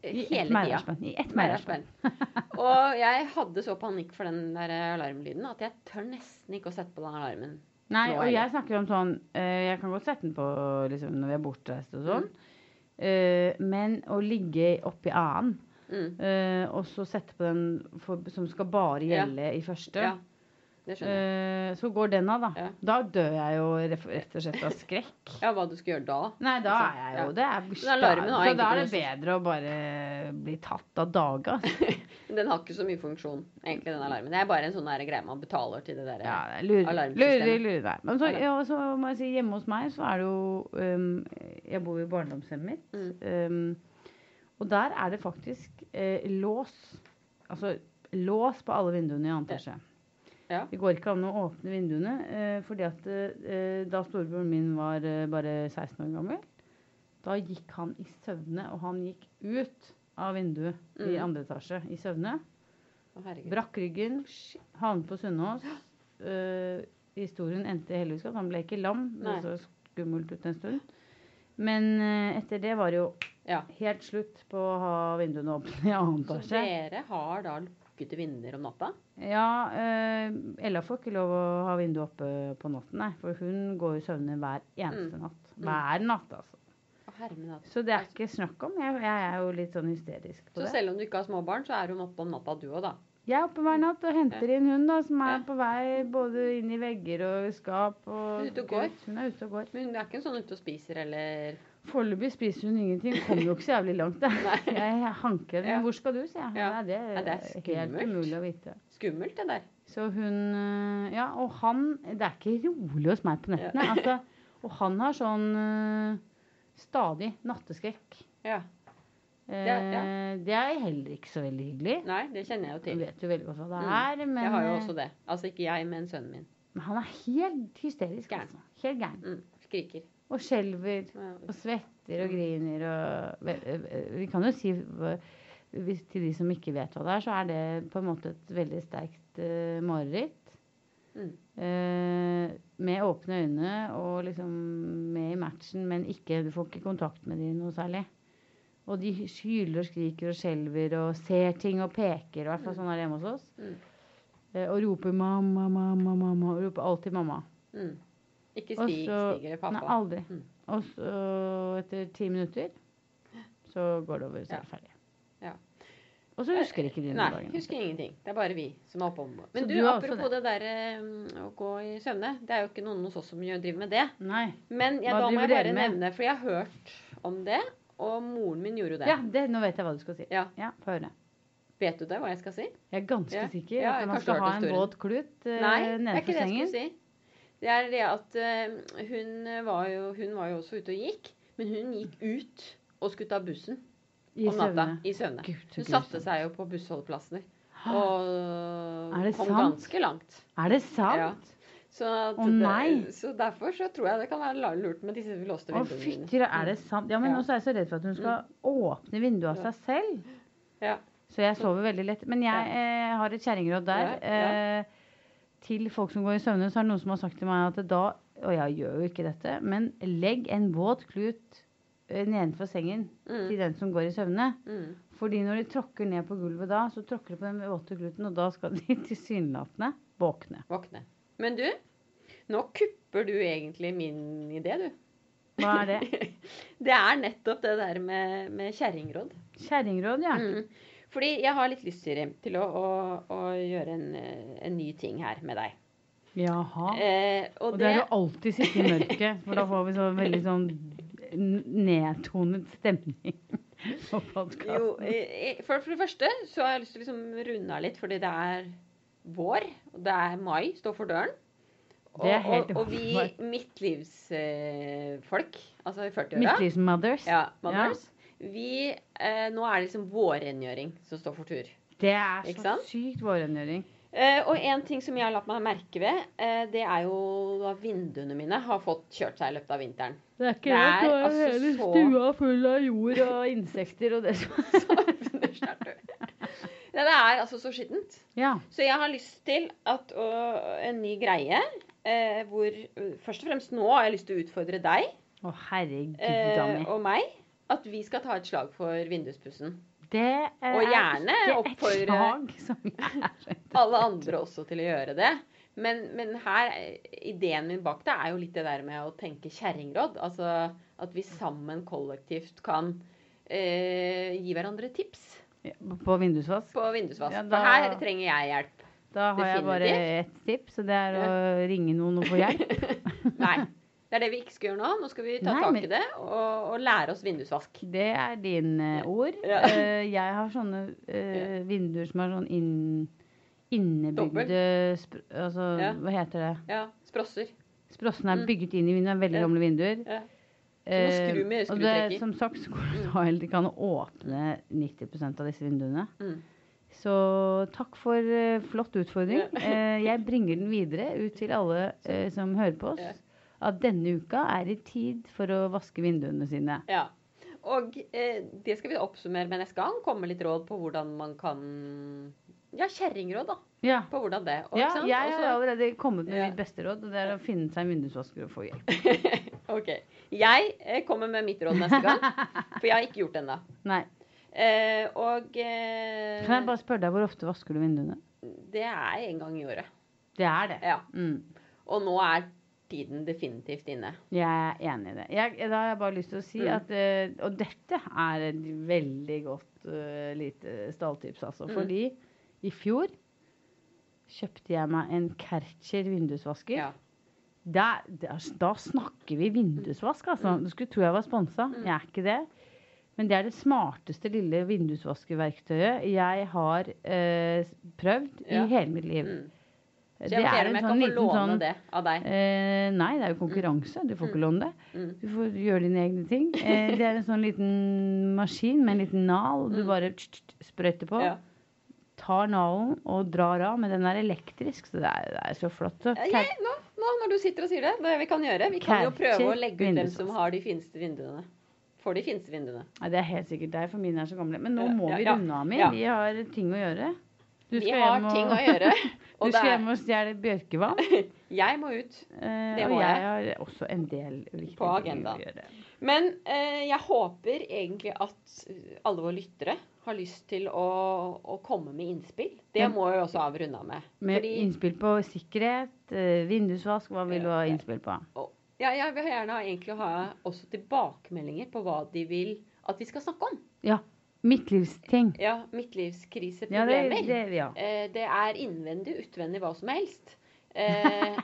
[SPEAKER 2] eh,
[SPEAKER 1] I ett
[SPEAKER 2] hele tida.
[SPEAKER 1] meierspenn. I ett meierspenn.
[SPEAKER 2] Meierspenn. Og jeg hadde så panikk for den der alarmlyden at jeg tør nesten ikke å sette på den alarmen.
[SPEAKER 1] Nei,
[SPEAKER 2] Nå
[SPEAKER 1] og
[SPEAKER 2] er
[SPEAKER 1] jeg snakker om sånn eh, Jeg kan godt sette den på liksom, når vi er bortreist og sånn. Eh, men å ligge oppi annen,
[SPEAKER 2] Mm.
[SPEAKER 1] eh, og så sette på den for, som skal bare
[SPEAKER 2] Ja.
[SPEAKER 1] gjelde i første,
[SPEAKER 2] Ja, det skjønner jeg.
[SPEAKER 1] eh, så går den av, da.
[SPEAKER 2] Ja.
[SPEAKER 1] Da dør jeg jo ref- rett og slett av skrekk.
[SPEAKER 2] Ja, hva du skal gjøre da.
[SPEAKER 1] Nei, da
[SPEAKER 2] Altså,
[SPEAKER 1] er jeg
[SPEAKER 2] ja.
[SPEAKER 1] jo det. Er,
[SPEAKER 2] Men alarmen har
[SPEAKER 1] så da er det
[SPEAKER 2] egentlig
[SPEAKER 1] bedre å bare bli tatt av dage. altså.
[SPEAKER 2] Den har ikke så mye funksjon, egentlig, den alarmen. Det er bare en sånn der greie man betaler til det der.
[SPEAKER 1] Ja, det er lurer,
[SPEAKER 2] Alarmsystemet.
[SPEAKER 1] lurer, lurer der. Men så,
[SPEAKER 2] Alarm.
[SPEAKER 1] ja, så må jeg si, hjemme hos meg så er det jo um, Jeg bor jo i barndomshjemmet mitt.
[SPEAKER 2] Mm.
[SPEAKER 1] Um, og der er det faktisk eh, lås. Altså lås på alle vinduene i annen etasje.
[SPEAKER 2] Ja.
[SPEAKER 1] Det går ikke an å åpne vinduene, eh, fordi at eh, da storebroren min var eh, bare 16 år gammel, da gikk han i søvne, og han gikk ut av vinduet i
[SPEAKER 2] Mm.
[SPEAKER 1] andre etasje i søvne.
[SPEAKER 2] Å, herregud.
[SPEAKER 1] Brakk ryggen, havnet på Sunnaas. Eh, historien endte heldigvis godt. Han ble ikke lam.
[SPEAKER 2] Nei.
[SPEAKER 1] Det så skummelt ut en stund. Men eh, etter det var det jo
[SPEAKER 2] Ja.
[SPEAKER 1] helt slutt på å ha vinduene åpne i annen
[SPEAKER 2] Så
[SPEAKER 1] etasje.
[SPEAKER 2] dere har da lukkede vinduer om natta?
[SPEAKER 1] Ja, eh, Ella får ikke lov å ha vinduet oppe på natten, nei. For hun går jo søvne hver eneste natt.
[SPEAKER 2] Mm.
[SPEAKER 1] Hver natt, altså.
[SPEAKER 2] Å, herre min hatt.
[SPEAKER 1] Så det er ikke snakk om. Jeg, jeg er jo litt sånn hysterisk på
[SPEAKER 2] Så
[SPEAKER 1] det.
[SPEAKER 2] selv om du ikke har små barn, så er hun oppe om natta, du òg, da.
[SPEAKER 1] Jeg er oppe hver natt og henter inn hun da, som er
[SPEAKER 2] Ja.
[SPEAKER 1] på vei både inn i vegger og skap. Og
[SPEAKER 2] Ute og går.
[SPEAKER 1] Hun er ute og går.
[SPEAKER 2] Men hun er ikke sånn ute og spiser eller
[SPEAKER 1] Foreløpig spiser hun ingenting. Kommer jo ikke så jævlig langt. Da.
[SPEAKER 2] Nei.
[SPEAKER 1] Jeg hanker henne.
[SPEAKER 2] Ja.
[SPEAKER 1] Hvor skal du, sier jeg.
[SPEAKER 2] Ja.
[SPEAKER 1] Nei, det er,
[SPEAKER 2] Ja, det er
[SPEAKER 1] helt
[SPEAKER 2] skummelt.
[SPEAKER 1] umulig å vite.
[SPEAKER 2] Skummelt, det der.
[SPEAKER 1] Så hun øh, Ja, og han Det er ikke rolig hos meg på nettene. Altså, og han har sånn øh, stadig natteskrekk.
[SPEAKER 2] Ja.
[SPEAKER 1] Eh,
[SPEAKER 2] Ja,
[SPEAKER 1] Det er heller ikke så veldig hyggelig.
[SPEAKER 2] Nei, det kjenner jeg jo
[SPEAKER 1] Du
[SPEAKER 2] til.
[SPEAKER 1] vet jo veldig godt hva det
[SPEAKER 2] Mm.
[SPEAKER 1] er, men
[SPEAKER 2] Jeg har jo
[SPEAKER 1] øh,
[SPEAKER 2] også det. Altså ikke jeg, men sønnen min.
[SPEAKER 1] men han er helt hysterisk.
[SPEAKER 2] Gæren.
[SPEAKER 1] Altså. Helt gæren.
[SPEAKER 2] Mm. Skriker. Mm,
[SPEAKER 1] Og skjelver.
[SPEAKER 2] Ja.
[SPEAKER 1] Og svetter og griner og vel, eh, Vi kan jo si hva- hvis, til de som ikke vet hva det er, så er det på en måte et veldig sterkt eh, mareritt.
[SPEAKER 2] Mm.
[SPEAKER 1] Eh, med åpne øyne og liksom med i matchen, men ikke, du får ikke kontakt med dem noe særlig. Og de hyler og skriker og skjelver og ser ting og peker, i hvert fall sånn er det hjemme hos oss.
[SPEAKER 2] Mm.
[SPEAKER 1] Eh, og roper 'mamma, mamma, mamma'. Og roper alltid 'mamma'.
[SPEAKER 2] Mm. Ikke
[SPEAKER 1] Og
[SPEAKER 2] stig,
[SPEAKER 1] så-
[SPEAKER 2] stig eller
[SPEAKER 1] Nei,
[SPEAKER 2] pappa.
[SPEAKER 1] aldri.
[SPEAKER 2] Mm.
[SPEAKER 1] Og så etter ti minutter så går det over, så er det ferdig.
[SPEAKER 2] Ja.
[SPEAKER 1] Og så husker ikke de
[SPEAKER 2] Nei,
[SPEAKER 1] noen dagene.
[SPEAKER 2] husker ingenting. Det er bare vi som har opphold. Men
[SPEAKER 1] Så
[SPEAKER 2] du,
[SPEAKER 1] du har også
[SPEAKER 2] apropos det derre å gå i søvne. Det er jo ikke noen hos oss som gjør- driver med det.
[SPEAKER 1] Nei.
[SPEAKER 2] Men jeg,
[SPEAKER 1] Hva
[SPEAKER 2] da må
[SPEAKER 1] driver
[SPEAKER 2] jeg bare
[SPEAKER 1] dere med?
[SPEAKER 2] nevne, for jeg har hørt om det, og moren min gjorde jo det.
[SPEAKER 1] Ja, det, nå vet jeg hva du skal si.
[SPEAKER 2] Ja.
[SPEAKER 1] Få høre.
[SPEAKER 2] Vet du det, hva jeg skal si?
[SPEAKER 1] Jeg er ganske
[SPEAKER 2] Ja.
[SPEAKER 1] sikker
[SPEAKER 2] Ja,
[SPEAKER 1] at
[SPEAKER 2] jeg
[SPEAKER 1] man
[SPEAKER 2] kanskje
[SPEAKER 1] skal
[SPEAKER 2] har
[SPEAKER 1] ha
[SPEAKER 2] hørt
[SPEAKER 1] en
[SPEAKER 2] historien.
[SPEAKER 1] våt klut uh,
[SPEAKER 2] Nei, det er
[SPEAKER 1] nedenfor
[SPEAKER 2] ikke det jeg
[SPEAKER 1] sengen.
[SPEAKER 2] skulle si. Det er det at eh, hun var, jo, hun var jo også ute og gikk, men hun gikk ut og skulle ta bussen
[SPEAKER 1] I
[SPEAKER 2] om natta
[SPEAKER 1] søvne.
[SPEAKER 2] i søvne.
[SPEAKER 1] Gud, så
[SPEAKER 2] Hun satte
[SPEAKER 1] grusomt.
[SPEAKER 2] seg jo på bussholdeplasser
[SPEAKER 1] Hå,
[SPEAKER 2] og
[SPEAKER 1] Er det
[SPEAKER 2] kom
[SPEAKER 1] sant?
[SPEAKER 2] ganske langt.
[SPEAKER 1] Er det sant?
[SPEAKER 2] Så, at
[SPEAKER 1] Å,
[SPEAKER 2] det-
[SPEAKER 1] nei.
[SPEAKER 2] så derfor så tror jeg det kan være la- lurt med disse låste
[SPEAKER 1] Å,
[SPEAKER 2] vinduene dine.
[SPEAKER 1] fytti ra- er det sant? Ja, men
[SPEAKER 2] Ja. Mm.
[SPEAKER 1] nå er jeg så redd for at hun skal åpne vinduet av
[SPEAKER 2] Ja.
[SPEAKER 1] seg selv.
[SPEAKER 2] Ja.
[SPEAKER 1] Så jeg sover veldig lett. Men jeg eh, har et kjerringråd der.
[SPEAKER 2] Ja, ja.
[SPEAKER 1] Eh, til folk som går i søvne, så er det noen som har sagt til meg at da Og jeg gjør jo ikke dette, men legg en våt klut eh, nedenfor sengen
[SPEAKER 2] Mm,
[SPEAKER 1] til den som går i søvne.
[SPEAKER 2] mm,
[SPEAKER 1] Fordi når de tråkker ned på gulvet da, så tråkker de på den våte gluten, og da skal de tilsynelatende våkne.
[SPEAKER 2] våkne. Men du, nå kupper du egentlig min idé, du.
[SPEAKER 1] Hva er det?
[SPEAKER 2] Det er nettopp det der med, med kjerringråd.
[SPEAKER 1] Kjerringråd, ja.
[SPEAKER 2] Mm. Fordi jeg har litt lyst, Siri, til å, å, å gjøre en, eh, en ny ting her med deg.
[SPEAKER 1] Jaha.
[SPEAKER 2] Eh, og,
[SPEAKER 1] Og det
[SPEAKER 2] det,
[SPEAKER 1] er å alltid sitte i mørket, for da får vi så veldig sånn n- nedtonet stemning på
[SPEAKER 2] jo,
[SPEAKER 1] podkasten.
[SPEAKER 2] eh, eh, for, for det første så har jeg lyst til å liksom runde av litt, fordi det er vår. Og det er mai, står for døren. Og,
[SPEAKER 1] Det er helt
[SPEAKER 2] og, og vi
[SPEAKER 1] åpenbart.
[SPEAKER 2] midtlivsfolk, eh, folk, altså i 40-åra
[SPEAKER 1] Midtlysen Mothers.
[SPEAKER 2] ja, mothers, Vi, eh, Nå er det liksom vårrengjøring som står for tur.
[SPEAKER 1] Det er
[SPEAKER 2] Ikke
[SPEAKER 1] så
[SPEAKER 2] sant?
[SPEAKER 1] sykt vårrengjøring.
[SPEAKER 2] Eh, og en ting som jeg har latt meg merke ved, eh, det er jo at vinduene mine har fått kjørt seg i løpet av vinteren.
[SPEAKER 1] Det er ikke
[SPEAKER 2] Det
[SPEAKER 1] rett,
[SPEAKER 2] er
[SPEAKER 1] da er
[SPEAKER 2] altså
[SPEAKER 1] hele
[SPEAKER 2] så-
[SPEAKER 1] stua full av jord og insekter og det som sånn.
[SPEAKER 2] Det er det er altså så skittent.
[SPEAKER 1] Ja.
[SPEAKER 2] Så jeg har lyst til at å, en ny greie eh, hvor øh, Først og fremst nå har jeg lyst til å utfordre deg
[SPEAKER 1] Å, herregud a
[SPEAKER 2] eh,
[SPEAKER 1] meg.
[SPEAKER 2] og meg. At vi skal ta et slag for vinduspussen.
[SPEAKER 1] Det eh,
[SPEAKER 2] Og
[SPEAKER 1] er
[SPEAKER 2] gjerne
[SPEAKER 1] ikke et
[SPEAKER 2] oppfordre-
[SPEAKER 1] slag som jeg er
[SPEAKER 2] Alle andre også til å gjøre det. Men, men her, ideen min bak det er jo litt det der med å tenke kjerringråd. Altså at vi sammen kollektivt kan eh, gi hverandre tips
[SPEAKER 1] Ja, På vindusvask?
[SPEAKER 2] på vindusvask.
[SPEAKER 1] Ja, da-
[SPEAKER 2] For her trenger jeg hjelp.
[SPEAKER 1] Da har jeg bare ett tips, og det er å ringe noen og få hjelp.
[SPEAKER 2] Nei. Det er det vi ikke skal gjøre nå. Nå skal vi ta
[SPEAKER 1] Nei,
[SPEAKER 2] tak
[SPEAKER 1] men-
[SPEAKER 2] i det og, og lære oss vindusvask.
[SPEAKER 1] Det er dine ord.
[SPEAKER 2] Ja.
[SPEAKER 1] Eh, jeg har sånne eh, vinduer som er sånn inn, innebygde spr Altså,
[SPEAKER 2] Ja.
[SPEAKER 1] hva heter det?
[SPEAKER 2] Ja, Sprosser.
[SPEAKER 1] Sprossen er
[SPEAKER 2] Mm.
[SPEAKER 1] bygget inn i vinduet. Veldig
[SPEAKER 2] Ja.
[SPEAKER 1] gamle vinduer.
[SPEAKER 2] Ja.
[SPEAKER 1] Eh,
[SPEAKER 2] skru med
[SPEAKER 1] og det,
[SPEAKER 2] skrutrekker.
[SPEAKER 1] som sagt så går det da helt ikke an å åpne 90 av disse vinduene.
[SPEAKER 2] Mm.
[SPEAKER 1] Så takk for eh, flott utfordring.
[SPEAKER 2] Ja.
[SPEAKER 1] Eh, jeg bringer den videre ut til alle eh, som hører på oss.
[SPEAKER 2] Ja.
[SPEAKER 1] At denne uka er i tid for å vaske vinduene sine.
[SPEAKER 2] Ja. Og eh, det skal vi oppsummere med neste gang. Komme med litt råd på hvordan man kan Ja, kjerringråd, da.
[SPEAKER 1] Ja.
[SPEAKER 2] På hvordan det. Og,
[SPEAKER 1] Ja,
[SPEAKER 2] ikke sant?
[SPEAKER 1] jeg
[SPEAKER 2] Og så-
[SPEAKER 1] har allerede kommet med
[SPEAKER 2] Ja.
[SPEAKER 1] mitt beste råd, og det er å finne seg en vindusvasker og få hjelp.
[SPEAKER 2] Ok. Jeg eh, kommer med mitt råd neste gang, for jeg har ikke gjort det ennå.
[SPEAKER 1] Nei.
[SPEAKER 2] Eh, og eh,
[SPEAKER 1] Kan jeg bare spørre deg, hvor ofte vasker du vinduene?
[SPEAKER 2] det er en gang i året.
[SPEAKER 1] Det er det.
[SPEAKER 2] Ja.
[SPEAKER 1] Mm.
[SPEAKER 2] Og nå er tiden definitivt inne.
[SPEAKER 1] Jeg er enig i det. Jeg, da har jeg bare lyst til å si
[SPEAKER 2] Mm.
[SPEAKER 1] at eh, Og dette er et veldig godt eh, lite stalltips, altså.
[SPEAKER 2] Mm.
[SPEAKER 1] Fordi i fjor kjøpte jeg meg en Kercher vindusvasker.
[SPEAKER 2] Ja.
[SPEAKER 1] Der, der, da snakker vi vindusvask, altså. Du skulle tro jeg var sponsa.
[SPEAKER 2] Mm.
[SPEAKER 1] Jeg er ikke det. Men det er det smarteste lille vindusvaskeverktøyet jeg har eh, prøvd
[SPEAKER 2] Ja.
[SPEAKER 1] i hele mitt liv.
[SPEAKER 2] Mm. Så
[SPEAKER 1] Det er
[SPEAKER 2] jeg vurderer
[SPEAKER 1] en
[SPEAKER 2] om jeg
[SPEAKER 1] sånn
[SPEAKER 2] kan få
[SPEAKER 1] liten
[SPEAKER 2] låne
[SPEAKER 1] sånn
[SPEAKER 2] det av deg.
[SPEAKER 1] eh, Nei, det er jo konkurranse. Du får ikke låne det.
[SPEAKER 2] Mm.
[SPEAKER 1] Du får gjøre dine egne ting. Eh, det er en sånn liten maskin med en liten nal du
[SPEAKER 2] Mm.
[SPEAKER 1] bare tsk, tsk, tsk, sprøyter på.
[SPEAKER 2] Ja.
[SPEAKER 1] Tar nalen og drar av, men den er elektrisk, så det er, det er så flott. Så.
[SPEAKER 2] Eh, Jeg, nå, nå når du sitter og sier det, det er vi kan gjøre Vi kan jo prøve å
[SPEAKER 1] Catcher
[SPEAKER 2] legge ut hvem
[SPEAKER 1] vindusvask.
[SPEAKER 2] som har de fineste vinduene. Får de fineste vinduene.
[SPEAKER 1] Nei, det er helt sikkert deg, for mine er så gamle. Men nå må
[SPEAKER 2] Ja,
[SPEAKER 1] vi
[SPEAKER 2] ja,
[SPEAKER 1] runde av, Mir.
[SPEAKER 2] ja.
[SPEAKER 1] Vi har ting å gjøre. Du
[SPEAKER 2] Vi
[SPEAKER 1] skal
[SPEAKER 2] har
[SPEAKER 1] hjem og-
[SPEAKER 2] ting å gjøre.
[SPEAKER 1] Du
[SPEAKER 2] Og det
[SPEAKER 1] skal
[SPEAKER 2] er
[SPEAKER 1] hjem og stjele bjørkevann.
[SPEAKER 2] Jeg må ut.
[SPEAKER 1] eh,
[SPEAKER 2] Det må
[SPEAKER 1] og jeg har også en del viktige
[SPEAKER 2] På
[SPEAKER 1] ting å
[SPEAKER 2] agendaen.
[SPEAKER 1] gjøre.
[SPEAKER 2] Men eh, jeg håper egentlig at alle våre lyttere har lyst til å, å komme med innspill. Det
[SPEAKER 1] Men-
[SPEAKER 2] må jeg også avrunde av med.
[SPEAKER 1] Med
[SPEAKER 2] Fordi
[SPEAKER 1] innspill på sikkerhet, eh, vindusvask, hva vil du ha innspill på?
[SPEAKER 2] ja, jeg vil gjerne ha, egentlig ha også tilbakemeldinger på hva de vil at vi skal snakke om.
[SPEAKER 1] Midtlivsting.
[SPEAKER 2] Ja,
[SPEAKER 1] Ja, det,
[SPEAKER 2] midtlivskriseproblemer.
[SPEAKER 1] det, ja.
[SPEAKER 2] Eh, det er innvendig, utvendig, hva som helst. Eh,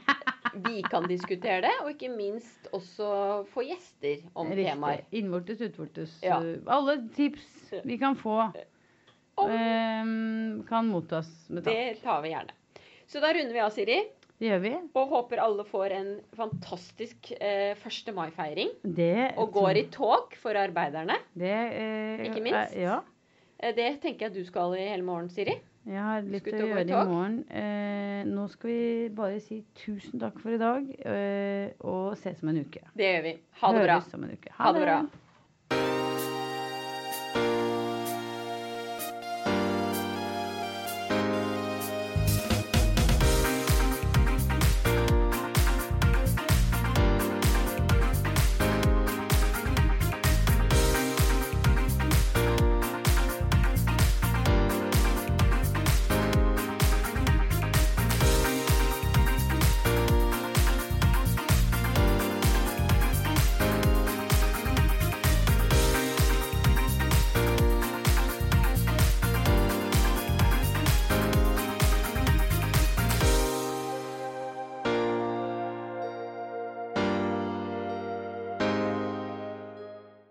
[SPEAKER 2] vi kan diskutere det, og ikke minst også få gjester om temaer.
[SPEAKER 1] Riktig. Innvortes, utvortes.
[SPEAKER 2] Ja.
[SPEAKER 1] eh, Alle tips
[SPEAKER 2] Ja.
[SPEAKER 1] vi kan få,
[SPEAKER 2] Om
[SPEAKER 1] eh, kan mottas med takk.
[SPEAKER 2] det tar vi gjerne. Så da runder vi av, Siri,
[SPEAKER 1] Det gjør vi.
[SPEAKER 2] og håper alle får en fantastisk eh, 1. mai-feiring.
[SPEAKER 1] Det
[SPEAKER 2] Og går i tog for arbeiderne.
[SPEAKER 1] det, eh,
[SPEAKER 2] Ikke minst.
[SPEAKER 1] eh, Ja.
[SPEAKER 2] Eh, det tenker jeg du skal i hele morgen, Siri.
[SPEAKER 1] Jeg har litt
[SPEAKER 2] Skal
[SPEAKER 1] å
[SPEAKER 2] vi ta over
[SPEAKER 1] gjøre
[SPEAKER 2] i
[SPEAKER 1] i
[SPEAKER 2] tog?
[SPEAKER 1] morgen. Eh, nå skal vi bare si tusen takk for i dag, eh, og ses om en uke.
[SPEAKER 2] Det gjør vi. Ha det bra.
[SPEAKER 1] Høres om en uke.
[SPEAKER 2] Ha det bra.